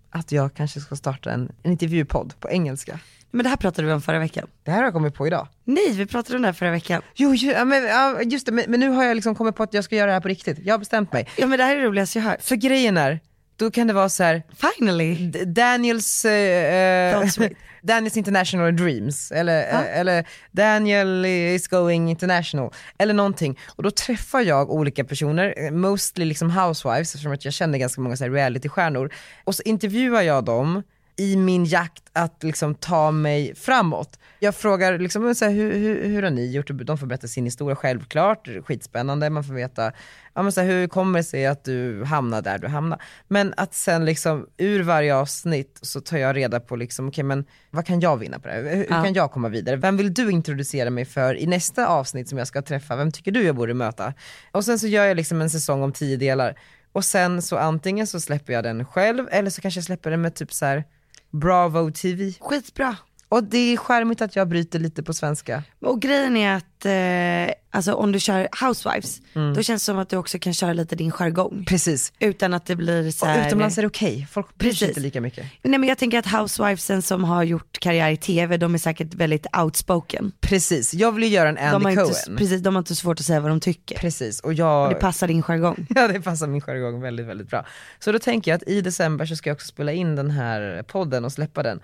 Speaker 1: att jag kanske ska starta en, en intervjupodd på engelska.
Speaker 2: Men det här pratade vi om förra veckan.
Speaker 1: Det här har jag kommit på idag.
Speaker 2: Nej, vi pratade om det här förra veckan.
Speaker 1: Jo, ju, ja, men, ja, just det, men, men nu har jag liksom kommit på att jag ska göra det här på riktigt. Jag har bestämt mig.
Speaker 2: Ja men det här är det roligaste jag hört.
Speaker 1: För grejen är, då kan det vara så här,
Speaker 2: Finally.
Speaker 1: D- Daniels, eh, eh,
Speaker 2: Don't sweat.
Speaker 1: Daniels international dreams, eller, eh, eller Daniel is going international, eller någonting. Och då träffar jag olika personer, eh, mostly liksom housewives, eftersom att jag känner ganska många så här realitystjärnor. Och så intervjuar jag dem i min jakt att liksom ta mig framåt. Jag frågar liksom, men så här, hur, hur, hur har ni gjort? De får berätta sin historia självklart, skitspännande, man får veta ja, men så här, hur kommer det sig att du hamnar där du hamnar? Men att sen liksom ur varje avsnitt så tar jag reda på liksom, okej men vad kan jag vinna på det här? Hur, hur
Speaker 2: Ja.
Speaker 1: kan jag komma vidare? Vem vill du introducera mig för i nästa avsnitt som jag ska träffa? Vem tycker du jag borde möta? Och sen så gör jag liksom en säsong om tio delar. Och sen så antingen så släpper jag den själv eller så kanske jag släpper den med typ så här Bravo TV.
Speaker 2: Skitbra.
Speaker 1: Och det är charmigt att jag bryter lite på svenska.
Speaker 2: Och grejen är att eh, alltså, om du kör housewives, då känns det som att du också kan köra lite din jargong.
Speaker 1: Precis.
Speaker 2: Utan att det blir så
Speaker 1: Och
Speaker 2: här...
Speaker 1: utomlands är det okej, folk bryr sig
Speaker 2: Precis.
Speaker 1: inte lika mycket.
Speaker 2: Nej men jag tänker att housewivesen som har gjort karriär i tv, de är säkert väldigt outspoken.
Speaker 1: Precis, jag vill ju göra en
Speaker 2: De har,
Speaker 1: Andy
Speaker 2: inte,
Speaker 1: Cohen.
Speaker 2: precis, de har inte svårt att säga vad de tycker.
Speaker 1: Precis, och
Speaker 2: Och
Speaker 1: jag...
Speaker 2: det passar din jargong.
Speaker 1: Ja det passar min jargong väldigt, väldigt bra. Så då tänker jag att i december så ska jag också spela in den här podden och släppa den.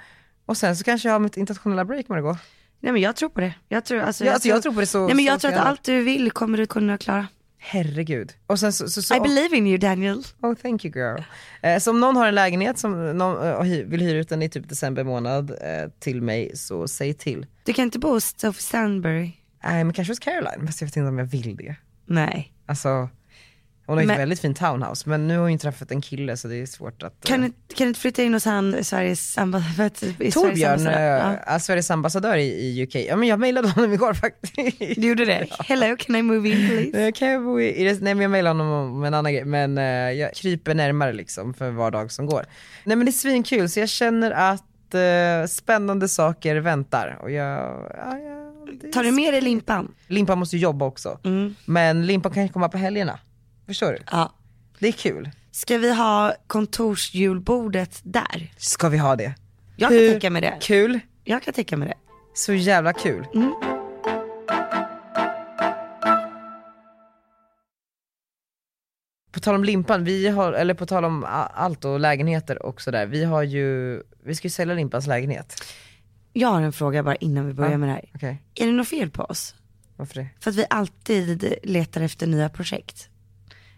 Speaker 1: Och sen så kanske jag har mitt internationella break Margot.
Speaker 2: Nej men jag tror på det. Jag tror, alltså,
Speaker 1: Ja, alltså, jag tror på det så-
Speaker 2: Nej men jag
Speaker 1: så
Speaker 2: tror att
Speaker 1: gärna.
Speaker 2: allt du vill kommer du kunna klara.
Speaker 1: Herregud. Och sen så, så, så
Speaker 2: I believe in you Daniel.
Speaker 1: Oh thank you girl. Eh, så om någon har en lägenhet som någon, eh, och hy- vill hyra ut den i typ december månad eh, till mig så säg till.
Speaker 2: Du kan inte bo hos Sophie Sandberg.
Speaker 1: Nej men kanske hos Caroline, fast jag vet inte om jag vill det.
Speaker 2: Nej.
Speaker 1: Alltså, hon har ju
Speaker 2: Men-
Speaker 1: ett väldigt fint townhouse men nu har hon ju träffat en kille så det är svårt att... eh,
Speaker 2: Kan du, kan du inte flytta in hos han, Sveriges ambassadör?
Speaker 1: Torbjörn, eh, ja. Sveriges ambassadör i, i UK, ja men jag mejlade honom igår faktiskt.
Speaker 2: Du gjorde det? Hello, can I move in please?
Speaker 1: Nej, Kan jag bo i, i det, nej men jag mejlade honom om en annan grej, men eh, jag kryper närmare liksom för var dag som går. Nej men det är svinkul så jag känner att eh, spännande saker väntar och jag, ja, ja, det är-
Speaker 2: Tar du med dig limpan? Mm.
Speaker 1: Limpan måste ju jobba också, men Limpan kan ju komma på helgerna. Förstår du?
Speaker 2: Ja.
Speaker 1: Det är kul.
Speaker 2: Ska vi ha kontorsjulbordet där?
Speaker 1: Ska vi ha det?
Speaker 2: Jag kan
Speaker 1: Hur
Speaker 2: tänka mig det.
Speaker 1: Kul,
Speaker 2: Jag kan tänka mig det.
Speaker 1: så jävla kul. På tal om limpan, vi har, eller på tal om a- allt och lägenheter och sådär, vi har ju, vi ska ju sälja limpans lägenhet.
Speaker 2: Jag har en fråga bara innan vi börjar
Speaker 1: Ja.
Speaker 2: med det här.
Speaker 1: Okej,
Speaker 2: Är det något fel på oss?
Speaker 1: varför det?
Speaker 2: För att vi alltid letar efter nya projekt.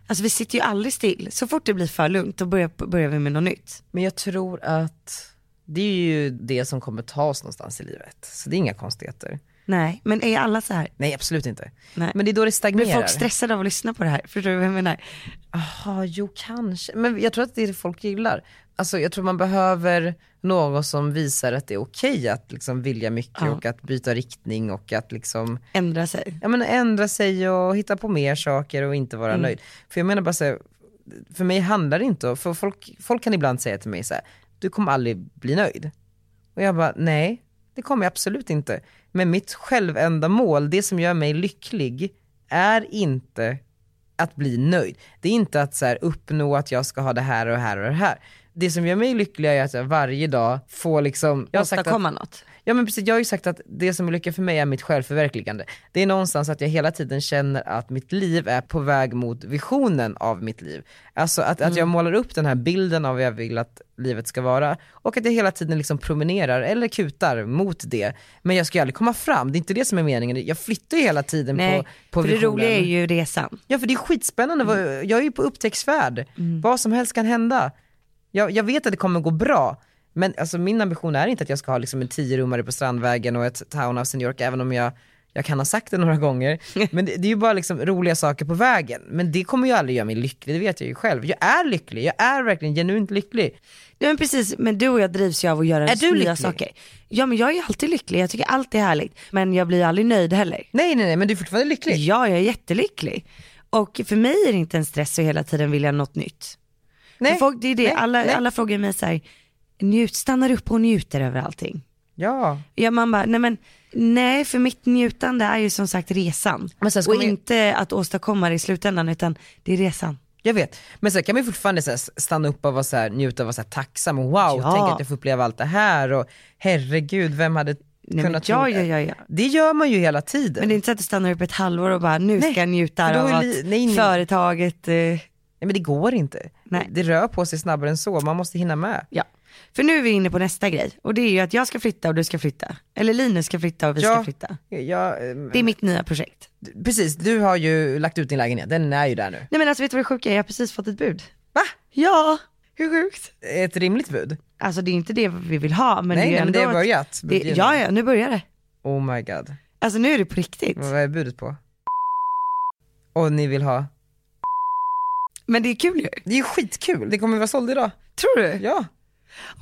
Speaker 2: Alltså vi sitter ju aldrig still. Så fort det blir för lugnt då börjar, börjar vi med något nytt.
Speaker 1: Men jag tror att det är ju det som kommer ta oss någonstans i livet, så det är inga konstigheter.
Speaker 2: Nej, men är alla så här?
Speaker 1: Nej absolut inte.
Speaker 2: Nej.
Speaker 1: Men det är då det
Speaker 2: Blir
Speaker 1: stagnerar.
Speaker 2: folk stressade av att lyssna på det här? Förstår du vad jag menar?
Speaker 1: Jaha, jo kanske. Men jag tror att det är det folk gillar. Alltså jag tror man behöver någon som visar att det är okej att liksom vilja mycket
Speaker 2: Ja.
Speaker 1: och att byta riktning och att liksom,
Speaker 2: Ändra sig.
Speaker 1: ja men ändra sig och hitta på mer saker och inte vara nöjd. För jag menar bara så här, för mig handlar det inte om, för folk, folk kan ibland säga till mig så här, du kommer aldrig bli nöjd. Och jag bara, nej, det kommer jag absolut inte. Men mitt självändamål, det som gör mig lycklig, är inte att bli nöjd. Det är inte att så här, uppnå att jag ska ha det här och det här och det här. det som gör mig lycklig är att jag varje dag får liksom, jag har sagt att
Speaker 2: åstadkomma något.
Speaker 1: Ja men precis, jag har ju sagt att det som är lycka för mig är mitt självförverkligande. Det är någonstans att jag hela tiden känner att mitt liv är på väg mot visionen av mitt liv. Alltså att, att
Speaker 2: Mm.
Speaker 1: jag målar upp den här bilden av vad jag vill att livet ska vara och att jag hela tiden liksom promenerar eller kutar mot det. Men jag ska ju aldrig komma fram, det är inte det som är meningen. Jag flyttar ju hela tiden
Speaker 2: Nej,
Speaker 1: på, på
Speaker 2: för det
Speaker 1: visionen.
Speaker 2: roliga är ju resan.
Speaker 1: Ja för det är skitspännande, Vad-
Speaker 2: Mm.
Speaker 1: jag är ju på upptäcktsfärd. Vad som helst kan hända. Jag, jag vet att det kommer gå bra, men alltså, min ambition är inte att jag ska ha liksom, en tiorummare på Strandvägen och ett townhouse i New York, även om jag, jag kan ha sagt det några gånger. Men det, det är ju bara liksom, roliga saker på vägen. Men det kommer ju aldrig göra mig lycklig, det vet jag ju själv. Jag är lycklig, jag är verkligen genuint lycklig.
Speaker 2: Nej, men precis, men du och jag drivs ju av att göra
Speaker 1: Är du
Speaker 2: nya
Speaker 1: lycklig?
Speaker 2: saker. Ja men jag är alltid lycklig, jag tycker allt är härligt. Men jag blir aldrig nöjd heller.
Speaker 1: Nej nej nej, men du är fortfarande lycklig.
Speaker 2: Ja, jag är jättelycklig. Och för mig är det inte en stress att hela tiden vilja något nytt.
Speaker 1: nej.
Speaker 2: För folk, det är det,
Speaker 1: nej,
Speaker 2: alla,
Speaker 1: nej.
Speaker 2: alla frågar mig så här, njut, stannar upp och njuter över allting.
Speaker 1: Ja.
Speaker 2: Ja, man bara, nej men nej för mitt njutande är ju som sagt resan.
Speaker 1: Men sen ska
Speaker 2: och
Speaker 1: man ju-
Speaker 2: inte att åstadkomma det i slutändan utan det är resan.
Speaker 1: Jag vet, men sen kan man ju fortfarande så här stanna upp och vara så här, njuta och vara så här tacksam och wow,
Speaker 2: Ja.
Speaker 1: tänk att jag får uppleva allt det här och herregud vem hade
Speaker 2: Nej, men
Speaker 1: kunnat
Speaker 2: ja,
Speaker 1: tro
Speaker 2: ja,
Speaker 1: det?
Speaker 2: ja, ja.
Speaker 1: Det gör man ju hela tiden.
Speaker 2: Men det är inte så att du stannar upp ett halvår och bara nu
Speaker 1: Nej,
Speaker 2: ska jag njuta
Speaker 1: för då
Speaker 2: av
Speaker 1: är
Speaker 2: att
Speaker 1: li- nej, nej.
Speaker 2: företaget eh,
Speaker 1: Nej, men det går inte.
Speaker 2: Nej.
Speaker 1: Det rör på sig snabbare än så, man måste hinna med.
Speaker 2: Ja. För nu är vi inne på nästa grej och det är ju att jag ska flytta och du ska flytta. Eller Linus ska flytta och vi ska
Speaker 1: Ja.
Speaker 2: flytta.
Speaker 1: Ja, ehm,
Speaker 2: Det är mitt nya projekt.
Speaker 1: precis, du har ju lagt ut din lägenhet, den är ju där nu.
Speaker 2: Nej men alltså vet du vad det sjuka är? Jag har precis fått ett bud.
Speaker 1: Va?
Speaker 2: Ja, hur sjukt?
Speaker 1: Ett rimligt bud?
Speaker 2: Alltså det är inte det vi vill ha
Speaker 1: nej,
Speaker 2: men det är ju
Speaker 1: nej, men
Speaker 2: ändå
Speaker 1: det har börjat.
Speaker 2: ett- Det, ja, ja, nu börjar det.
Speaker 1: Oh my god,
Speaker 2: Alltså nu är det på riktigt.
Speaker 1: vad är budet på? Och ni vill ha?
Speaker 2: Men det är kul ju.
Speaker 1: Det är ju skitkul, det kommer vara såld idag.
Speaker 2: Tror du?
Speaker 1: Ja.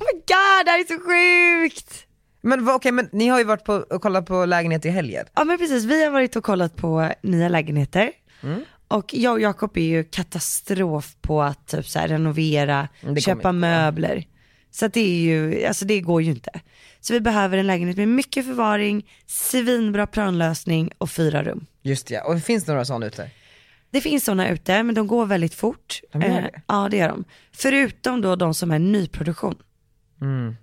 Speaker 2: Oh my god, det här är så sjukt!
Speaker 1: Men vad- okej, men ni har ju varit på, och kollat på lägenhet i helgen.
Speaker 2: Ja men precis, vi har varit och kollat på nya lägenheter.
Speaker 1: Mm.
Speaker 2: Och jag och Jakob är ju katastrof på att typ så här, renovera,
Speaker 1: Mm, det kommer
Speaker 2: köpa
Speaker 1: inte.
Speaker 2: möbler. Så att det är ju, alltså det går ju inte. Så vi behöver en lägenhet med mycket förvaring, svinbra planlösning och fyra rum.
Speaker 1: Just ja, och finns det några sådana ute?
Speaker 2: Det finns sådana ute men de går väldigt fort.
Speaker 1: De gör
Speaker 2: Eh,
Speaker 1: det?
Speaker 2: ja det gör de. Förutom då de som är nyproduktion.
Speaker 1: Mm.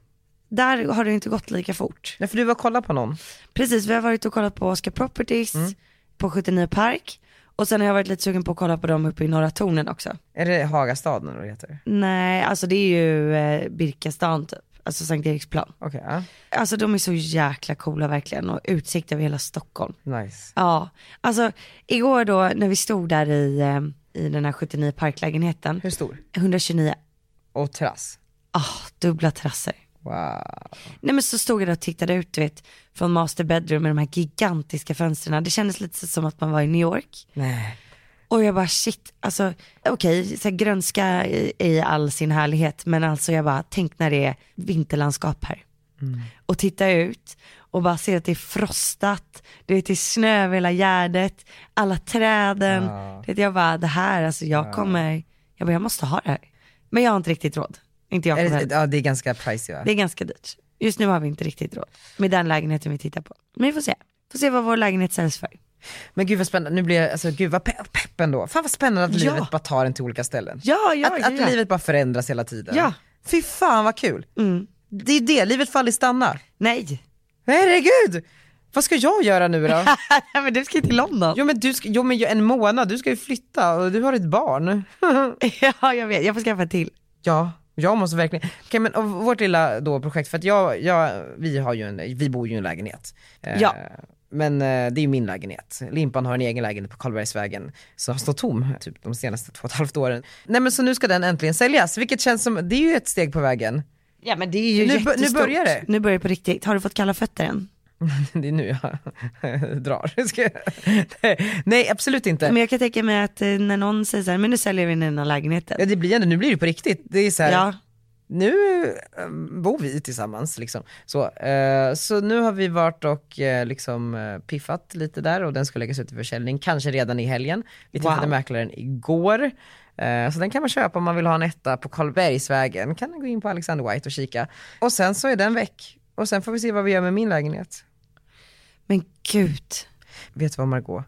Speaker 2: Där har det inte gått lika fort.
Speaker 1: Nej för du var och kollade på någon.
Speaker 2: Precis, vi har varit och kollat på Oscar Properties
Speaker 1: Mm.
Speaker 2: på 79 Park. Och sen har jag varit lite sugen på att kolla på dem uppe i Norra Tornen också.
Speaker 1: Är det Hagastaden eller vad det heter?
Speaker 2: Nej, alltså det är ju eh, Birkastan typ. Alltså Sankt Eriksplan.
Speaker 1: Okej, ja.
Speaker 2: Alltså de är så jäkla coola verkligen och utsikt över hela Stockholm.
Speaker 1: Nice.
Speaker 2: Ja, alltså igår då när vi stod där i, eh, i den här 79 parklägenheten,
Speaker 1: Hur stor?
Speaker 2: 129,
Speaker 1: Och terrass.
Speaker 2: ah dubbla terrasser.
Speaker 1: Wow.
Speaker 2: Nej men så stod jag där och tittade ut du vet, från master bedroom med de här gigantiska fönstren. Det kändes lite som att man var i New York.
Speaker 1: Nej.
Speaker 2: Och jag bara shit, alltså okej, så här grönska i, i all sin härlighet, men alltså jag bara tänk när det är vinterlandskap här.
Speaker 1: Mm.
Speaker 2: Och titta ut och bara se att det är frostat, det är till snö över hela gärdet, alla träden.
Speaker 1: Ja.
Speaker 2: Det, jag bara det här, alltså jag kommer, jag bara jag måste ha det här. Men jag har inte riktigt råd. Inte jag
Speaker 1: Är
Speaker 2: kommer.
Speaker 1: det, ja det är ganska pricey va?
Speaker 2: Det är ganska dyrt. Just nu har vi inte riktigt råd med den lägenheten vi tittar på. Men vi får se. Får se vad vår lägenhet säljs för.
Speaker 1: Men gud vad spännande, nu blir jag, alltså gud vad pe- peppen då. Fan vad spännande att
Speaker 2: Ja.
Speaker 1: livet bara tar en till olika ställen.
Speaker 2: Ja, ja,
Speaker 1: att,
Speaker 2: ja.
Speaker 1: att livet bara förändras hela tiden.
Speaker 2: Ja. Mm.
Speaker 1: Fy fan vad kul. Det är det, livet får aldrig stanna.
Speaker 2: Nej.
Speaker 1: Herregud! Vad ska jag göra nu då?
Speaker 2: Nej men du ska ju till London.
Speaker 1: jo men du ska, jo men ju- en månad, du ska ju flytta och du har ett barn.
Speaker 2: ja jag vet, jag får skaffa till.
Speaker 1: Ja, jag måste verkligen. Okej, men och vårt lilla då projekt, för att jag, jag, vi, har ju en, vi bor ju i en lägenhet. Eh,
Speaker 2: Ja.
Speaker 1: Men eh, det är ju min lägenhet. Limpan har en egen lägenhet på Karlbergsvägen som har stått tom typ de senaste två och ett halvt åren. Nej men så nu ska den äntligen säljas, vilket känns som, det är ju ett steg på vägen.
Speaker 2: Ja men det är
Speaker 1: Nu
Speaker 2: ju
Speaker 1: bör- nu
Speaker 2: jättestort.
Speaker 1: börjar det.
Speaker 2: Nu börjar det på riktigt. Har du fått kalla fötter än?
Speaker 1: Det är nu jag drar. Ska jag- Nej, Nej absolut inte.
Speaker 2: Men jag kan tänka mig att eh, när någon säger så här, men nu säljer vi den här lägenheten.
Speaker 1: Ja, det blir ändå, nu blir det på riktigt. Det är så här,
Speaker 2: Ja,
Speaker 1: nu eh, bor vi tillsammans liksom. Så, eh, så nu har vi varit och eh, liksom eh, piffat lite där och den ska läggas ut i försäljning, kanske redan i helgen. Vi träffade
Speaker 2: Wow.
Speaker 1: mäklaren igår. Eh, Så den kan man köpa om man vill ha en etta på Karlbergsvägen. Kan man gå in på Alexander White och kika. Och sen så är den väck. Och sen får vi se vad vi gör med min lägenhet.
Speaker 2: men gud.
Speaker 1: Vet du vad Margot?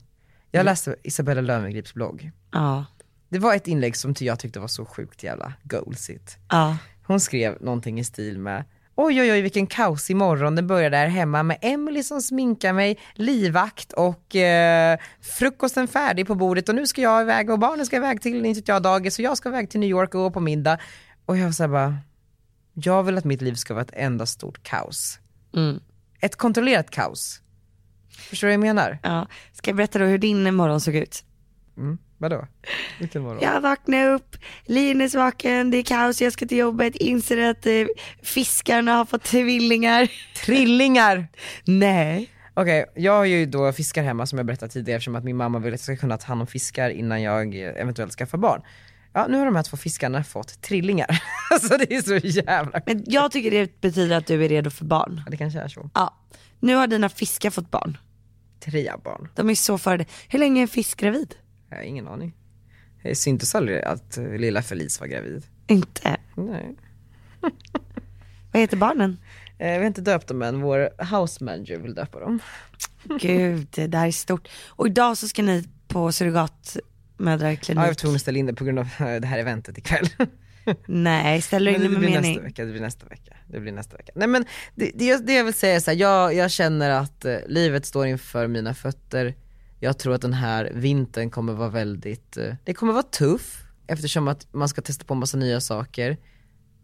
Speaker 1: Jag läste Isabella Löwengrips blogg.
Speaker 2: Ja.
Speaker 1: Det var ett inlägg som jag tyckte var så sjukt jävla goalsigt.
Speaker 2: Ja.
Speaker 1: Hon skrev någonting i stil med Oj oj oj vilken kaos imorgon, den börjar där hemma med Emily som sminkar mig, livvakt och eh, frukosten färdig på bordet och nu ska jag iväg och barnen ska iväg till, inte vet jag, dagis och jag ska iväg till New York och gå på middag. Och jag var såhär bara, jag vill att mitt liv ska vara ett enda stort kaos.
Speaker 2: Mm.
Speaker 1: Ett kontrollerat kaos. Förstår du vad jag menar?
Speaker 2: ja. Ska jag berätta då hur din morgon såg ut?
Speaker 1: Mm. Vadå? Vilken morgon?
Speaker 2: Jag vaknade upp, Linus vaken, det är kaos, jag ska till jobbet, inser att eh, fiskarna har fått tvillingar.
Speaker 1: Trillingar!
Speaker 2: Nej.
Speaker 1: Okej, jag har ju då fiskar hemma som jag berättade tidigare eftersom att min mamma vill att jag ska kunna ta hand om fiskar innan jag eh, eventuellt skaffar barn. Ja, nu har de här två fiskarna fått trillingar. alltså det är så jävla
Speaker 2: Men jag tycker det betyder att du är redo för barn.
Speaker 1: Det kanske är så.
Speaker 2: Ja. Nu har dina fiskar fått barn.
Speaker 1: Tre barn.
Speaker 2: De är så före det. Hur länge är en fisk gravid?
Speaker 1: Jag har ingen aning. Det syntes aldrig att eh, lilla Felice var gravid.
Speaker 2: Inte.
Speaker 1: Nej.
Speaker 2: Vad heter barnen?
Speaker 1: Eh, Vi har inte döpt dem än, vår house manager vill döpa dem.
Speaker 2: Gud, det där är stort. Och idag så ska ni på
Speaker 1: Ja, jag
Speaker 2: surrogatmödrarklinik.
Speaker 1: var tvungen att ställa in det på grund av eh, det här eventet ikväll.
Speaker 2: Nej, ställer du
Speaker 1: Men
Speaker 2: in
Speaker 1: det
Speaker 2: det med
Speaker 1: blir nästa
Speaker 2: mening?
Speaker 1: vecka, det blir nästa vecka. Det blir nästa vecka. Nej men det, det, jag- det jag vill säga är så här, jag, jag känner att eh, livet står inför mina fötter. Jag tror att den här vintern kommer vara väldigt, eh, det kommer vara tuff eftersom att man ska testa på massa nya saker.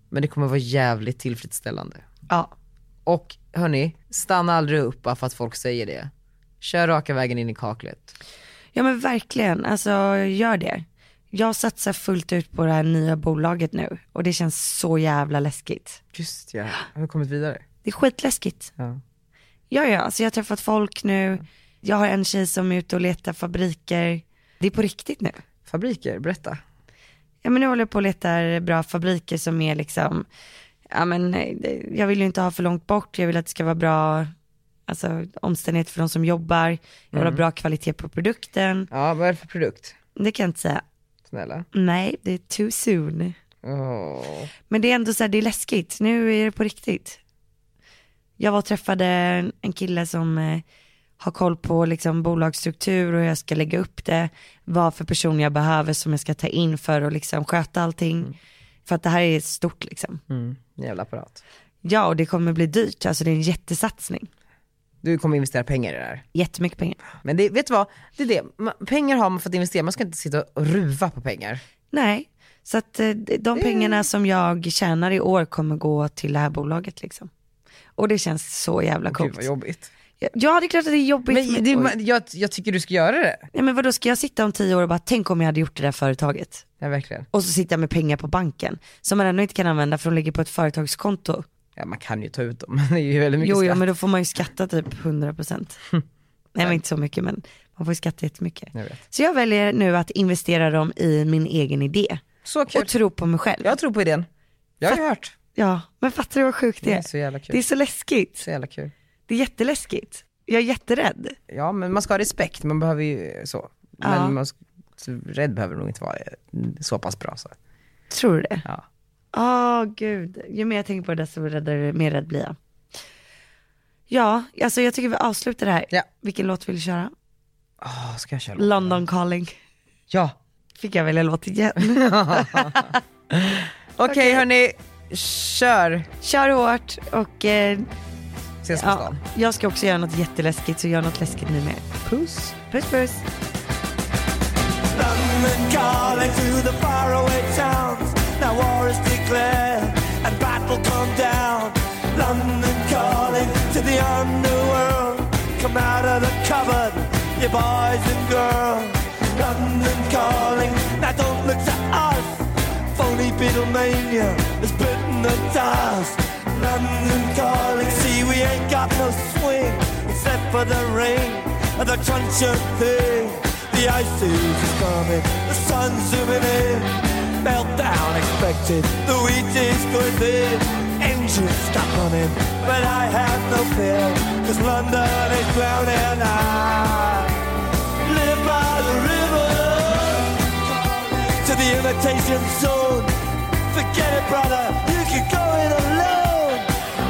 Speaker 1: Men det kommer vara jävligt tillfredsställande.
Speaker 2: Ja.
Speaker 1: Och hörni, stanna aldrig upp bara för att folk säger det. Kör raka vägen in i kaklet.
Speaker 2: ja, men verkligen. Alltså, gör det. Jag satsar fullt ut på det här nya bolaget nu och det känns så jävla läskigt.
Speaker 1: Just ja, har vi kommit vidare?
Speaker 2: Det är skitläskigt.
Speaker 1: Ja.
Speaker 2: Ja, ja, alltså jag har träffat folk nu. Jag har en tjej som är ute och letar fabriker. Det är på riktigt nu.
Speaker 1: Fabriker, berätta.
Speaker 2: Ja men nu håller jag på och letar bra fabriker som är liksom, ja men eh, jag vill ju inte ha för långt bort, jag vill att det ska vara bra, alltså omständighet för de som jobbar, jag vill ha bra kvalitet på produkten.
Speaker 1: Ja, vad är det för produkt?
Speaker 2: Det kan jag inte säga,
Speaker 1: Snälla.
Speaker 2: nej det är too soon.
Speaker 1: Åh.
Speaker 2: Men det är ändå så här, det är läskigt, nu är det på riktigt. Jag var och träffade en- en kille som eh, har koll på liksom bolagsstruktur och hur jag ska lägga upp det, vad för person jag behöver som jag ska ta in för att liksom sköta allting. För att det här är stort liksom.
Speaker 1: Mm, jävla apparat.
Speaker 2: Ja, och det kommer bli dyrt. Alltså det är en jättesatsning.
Speaker 1: Du kommer investera pengar i det här.
Speaker 2: Jättemycket pengar.
Speaker 1: Men det, vet du vad, det är det. Ma- Pengar har man för att investera, man ska inte sitta och ruva på pengar.
Speaker 2: Nej, så att eh, de pengarna som jag tjänar i år kommer gå till det här bolaget liksom. Och det känns så jävla
Speaker 1: Gud
Speaker 2: coolt.
Speaker 1: vad jobbigt.
Speaker 2: Ja, det är klart att det är jobbigt.
Speaker 1: Men det,
Speaker 2: oj.
Speaker 1: man, jag, jag tycker du ska göra det.
Speaker 2: Nej, men vadå, ska jag sitta om tio år och bara tänk om jag hade gjort det där företaget?
Speaker 1: Ja verkligen.
Speaker 2: Och så sitta med pengar på banken som man ändå inte kan använda för de ligger på ett företagskonto.
Speaker 1: Ja man kan ju ta ut dem, men det är ju väldigt mycket
Speaker 2: Jo, ja,
Speaker 1: skatt.
Speaker 2: men då får man ju skatta typ 100%. Nej, men inte så mycket, men man får ju skatta jättemycket.
Speaker 1: Jag vet.
Speaker 2: Så jag väljer nu att investera dem i min egen idé
Speaker 1: Så kul.
Speaker 2: och tro på mig själv.
Speaker 1: Jag tror på idén. Jag har ju hört.
Speaker 2: Ja, men fattar du vad sjukt det
Speaker 1: Det är
Speaker 2: är?
Speaker 1: så jävla kul.
Speaker 2: Det är så läskigt.
Speaker 1: så jävla kul.
Speaker 2: Det är jätteläskigt. Jag är jätterädd.
Speaker 1: Ja men man ska ha respekt, man behöver ju så. Men
Speaker 2: Ja.
Speaker 1: man, ska- så rädd behöver nog inte vara eh, så pass bra så.
Speaker 2: Tror du det?
Speaker 1: Ja.
Speaker 2: Åh gud, ju mer jag tänker på det desto räddare, mer rädd blir jag. Ja, alltså jag tycker vi avslutar det här.
Speaker 1: Ja.
Speaker 2: Vilken låt vill du köra?
Speaker 1: Åh, ska jag köra låten?
Speaker 2: London calling.
Speaker 1: Ja.
Speaker 2: Fick jag välja låt igen?
Speaker 1: Okej
Speaker 2: Okej.
Speaker 1: hörni, kör.
Speaker 2: Kör hårt och eh,
Speaker 1: Ses på
Speaker 2: ja,
Speaker 1: stan.
Speaker 2: jag ska också göra något jätteläskigt så gör något läskigt ni med.
Speaker 1: Puss.
Speaker 2: Puss puss.
Speaker 5: London calling to the faraway towns. Now war is declared and battle come down. London calling to the underworld. Come out of the cupboard, you boys and girls. London calling, now don't look to us. Phony Beatlemania is bitten the dust. London calling, see we ain't got no swing except for the rain and the crunch of things. The ice age is coming, the sun's zooming in. Meltdown expected, the wheat is going thin. Engines stop running, but I have no fear, cause London is drowning. I live by the river to the imitation zone. Forget it, brother, you can go it alone.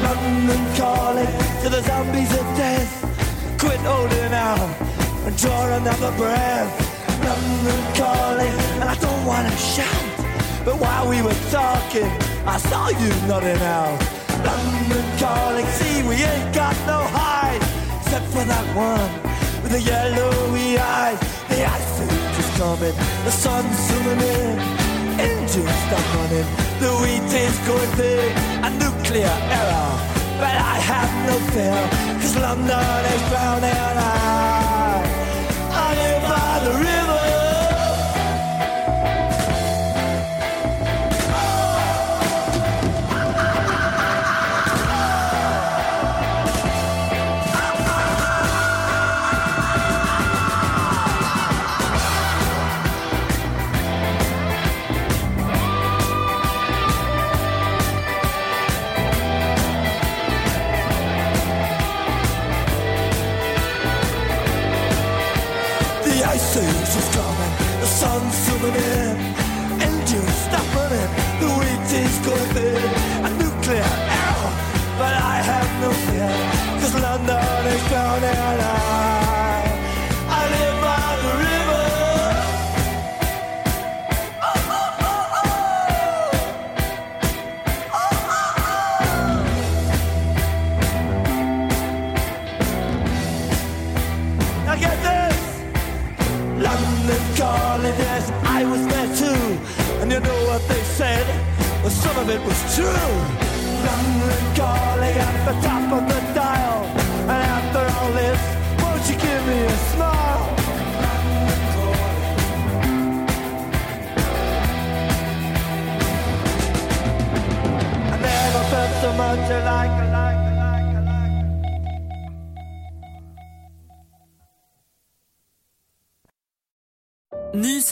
Speaker 5: London calling to the zombies of death. Quit holding out and draw another breath. London calling, and I don't want down and shout. But while we were talking, I saw you nodding out. London calling, see, we ain't got no hide. Except for that one with the yellowy eyes. The ice age is coming, the sun's zooming in. Engines stop running, the wheat is going big. A nuclear error, but I have no fear. Cause London is drowning I, I live by the river. The ice age is coming, the sun's zooming in, engines stop running, the wheat is going thin, a nuclear arrow, but I have no fear, cause London is drowning and I, I live by the river. Now get this! London calling, yes, I was there too. And you know what they said? Well, some of it was true. London calling at the top of the dial. And after all this, won't you give me a smile? I never felt so much alike, alike, alike, alike. alike.
Speaker 6: Ny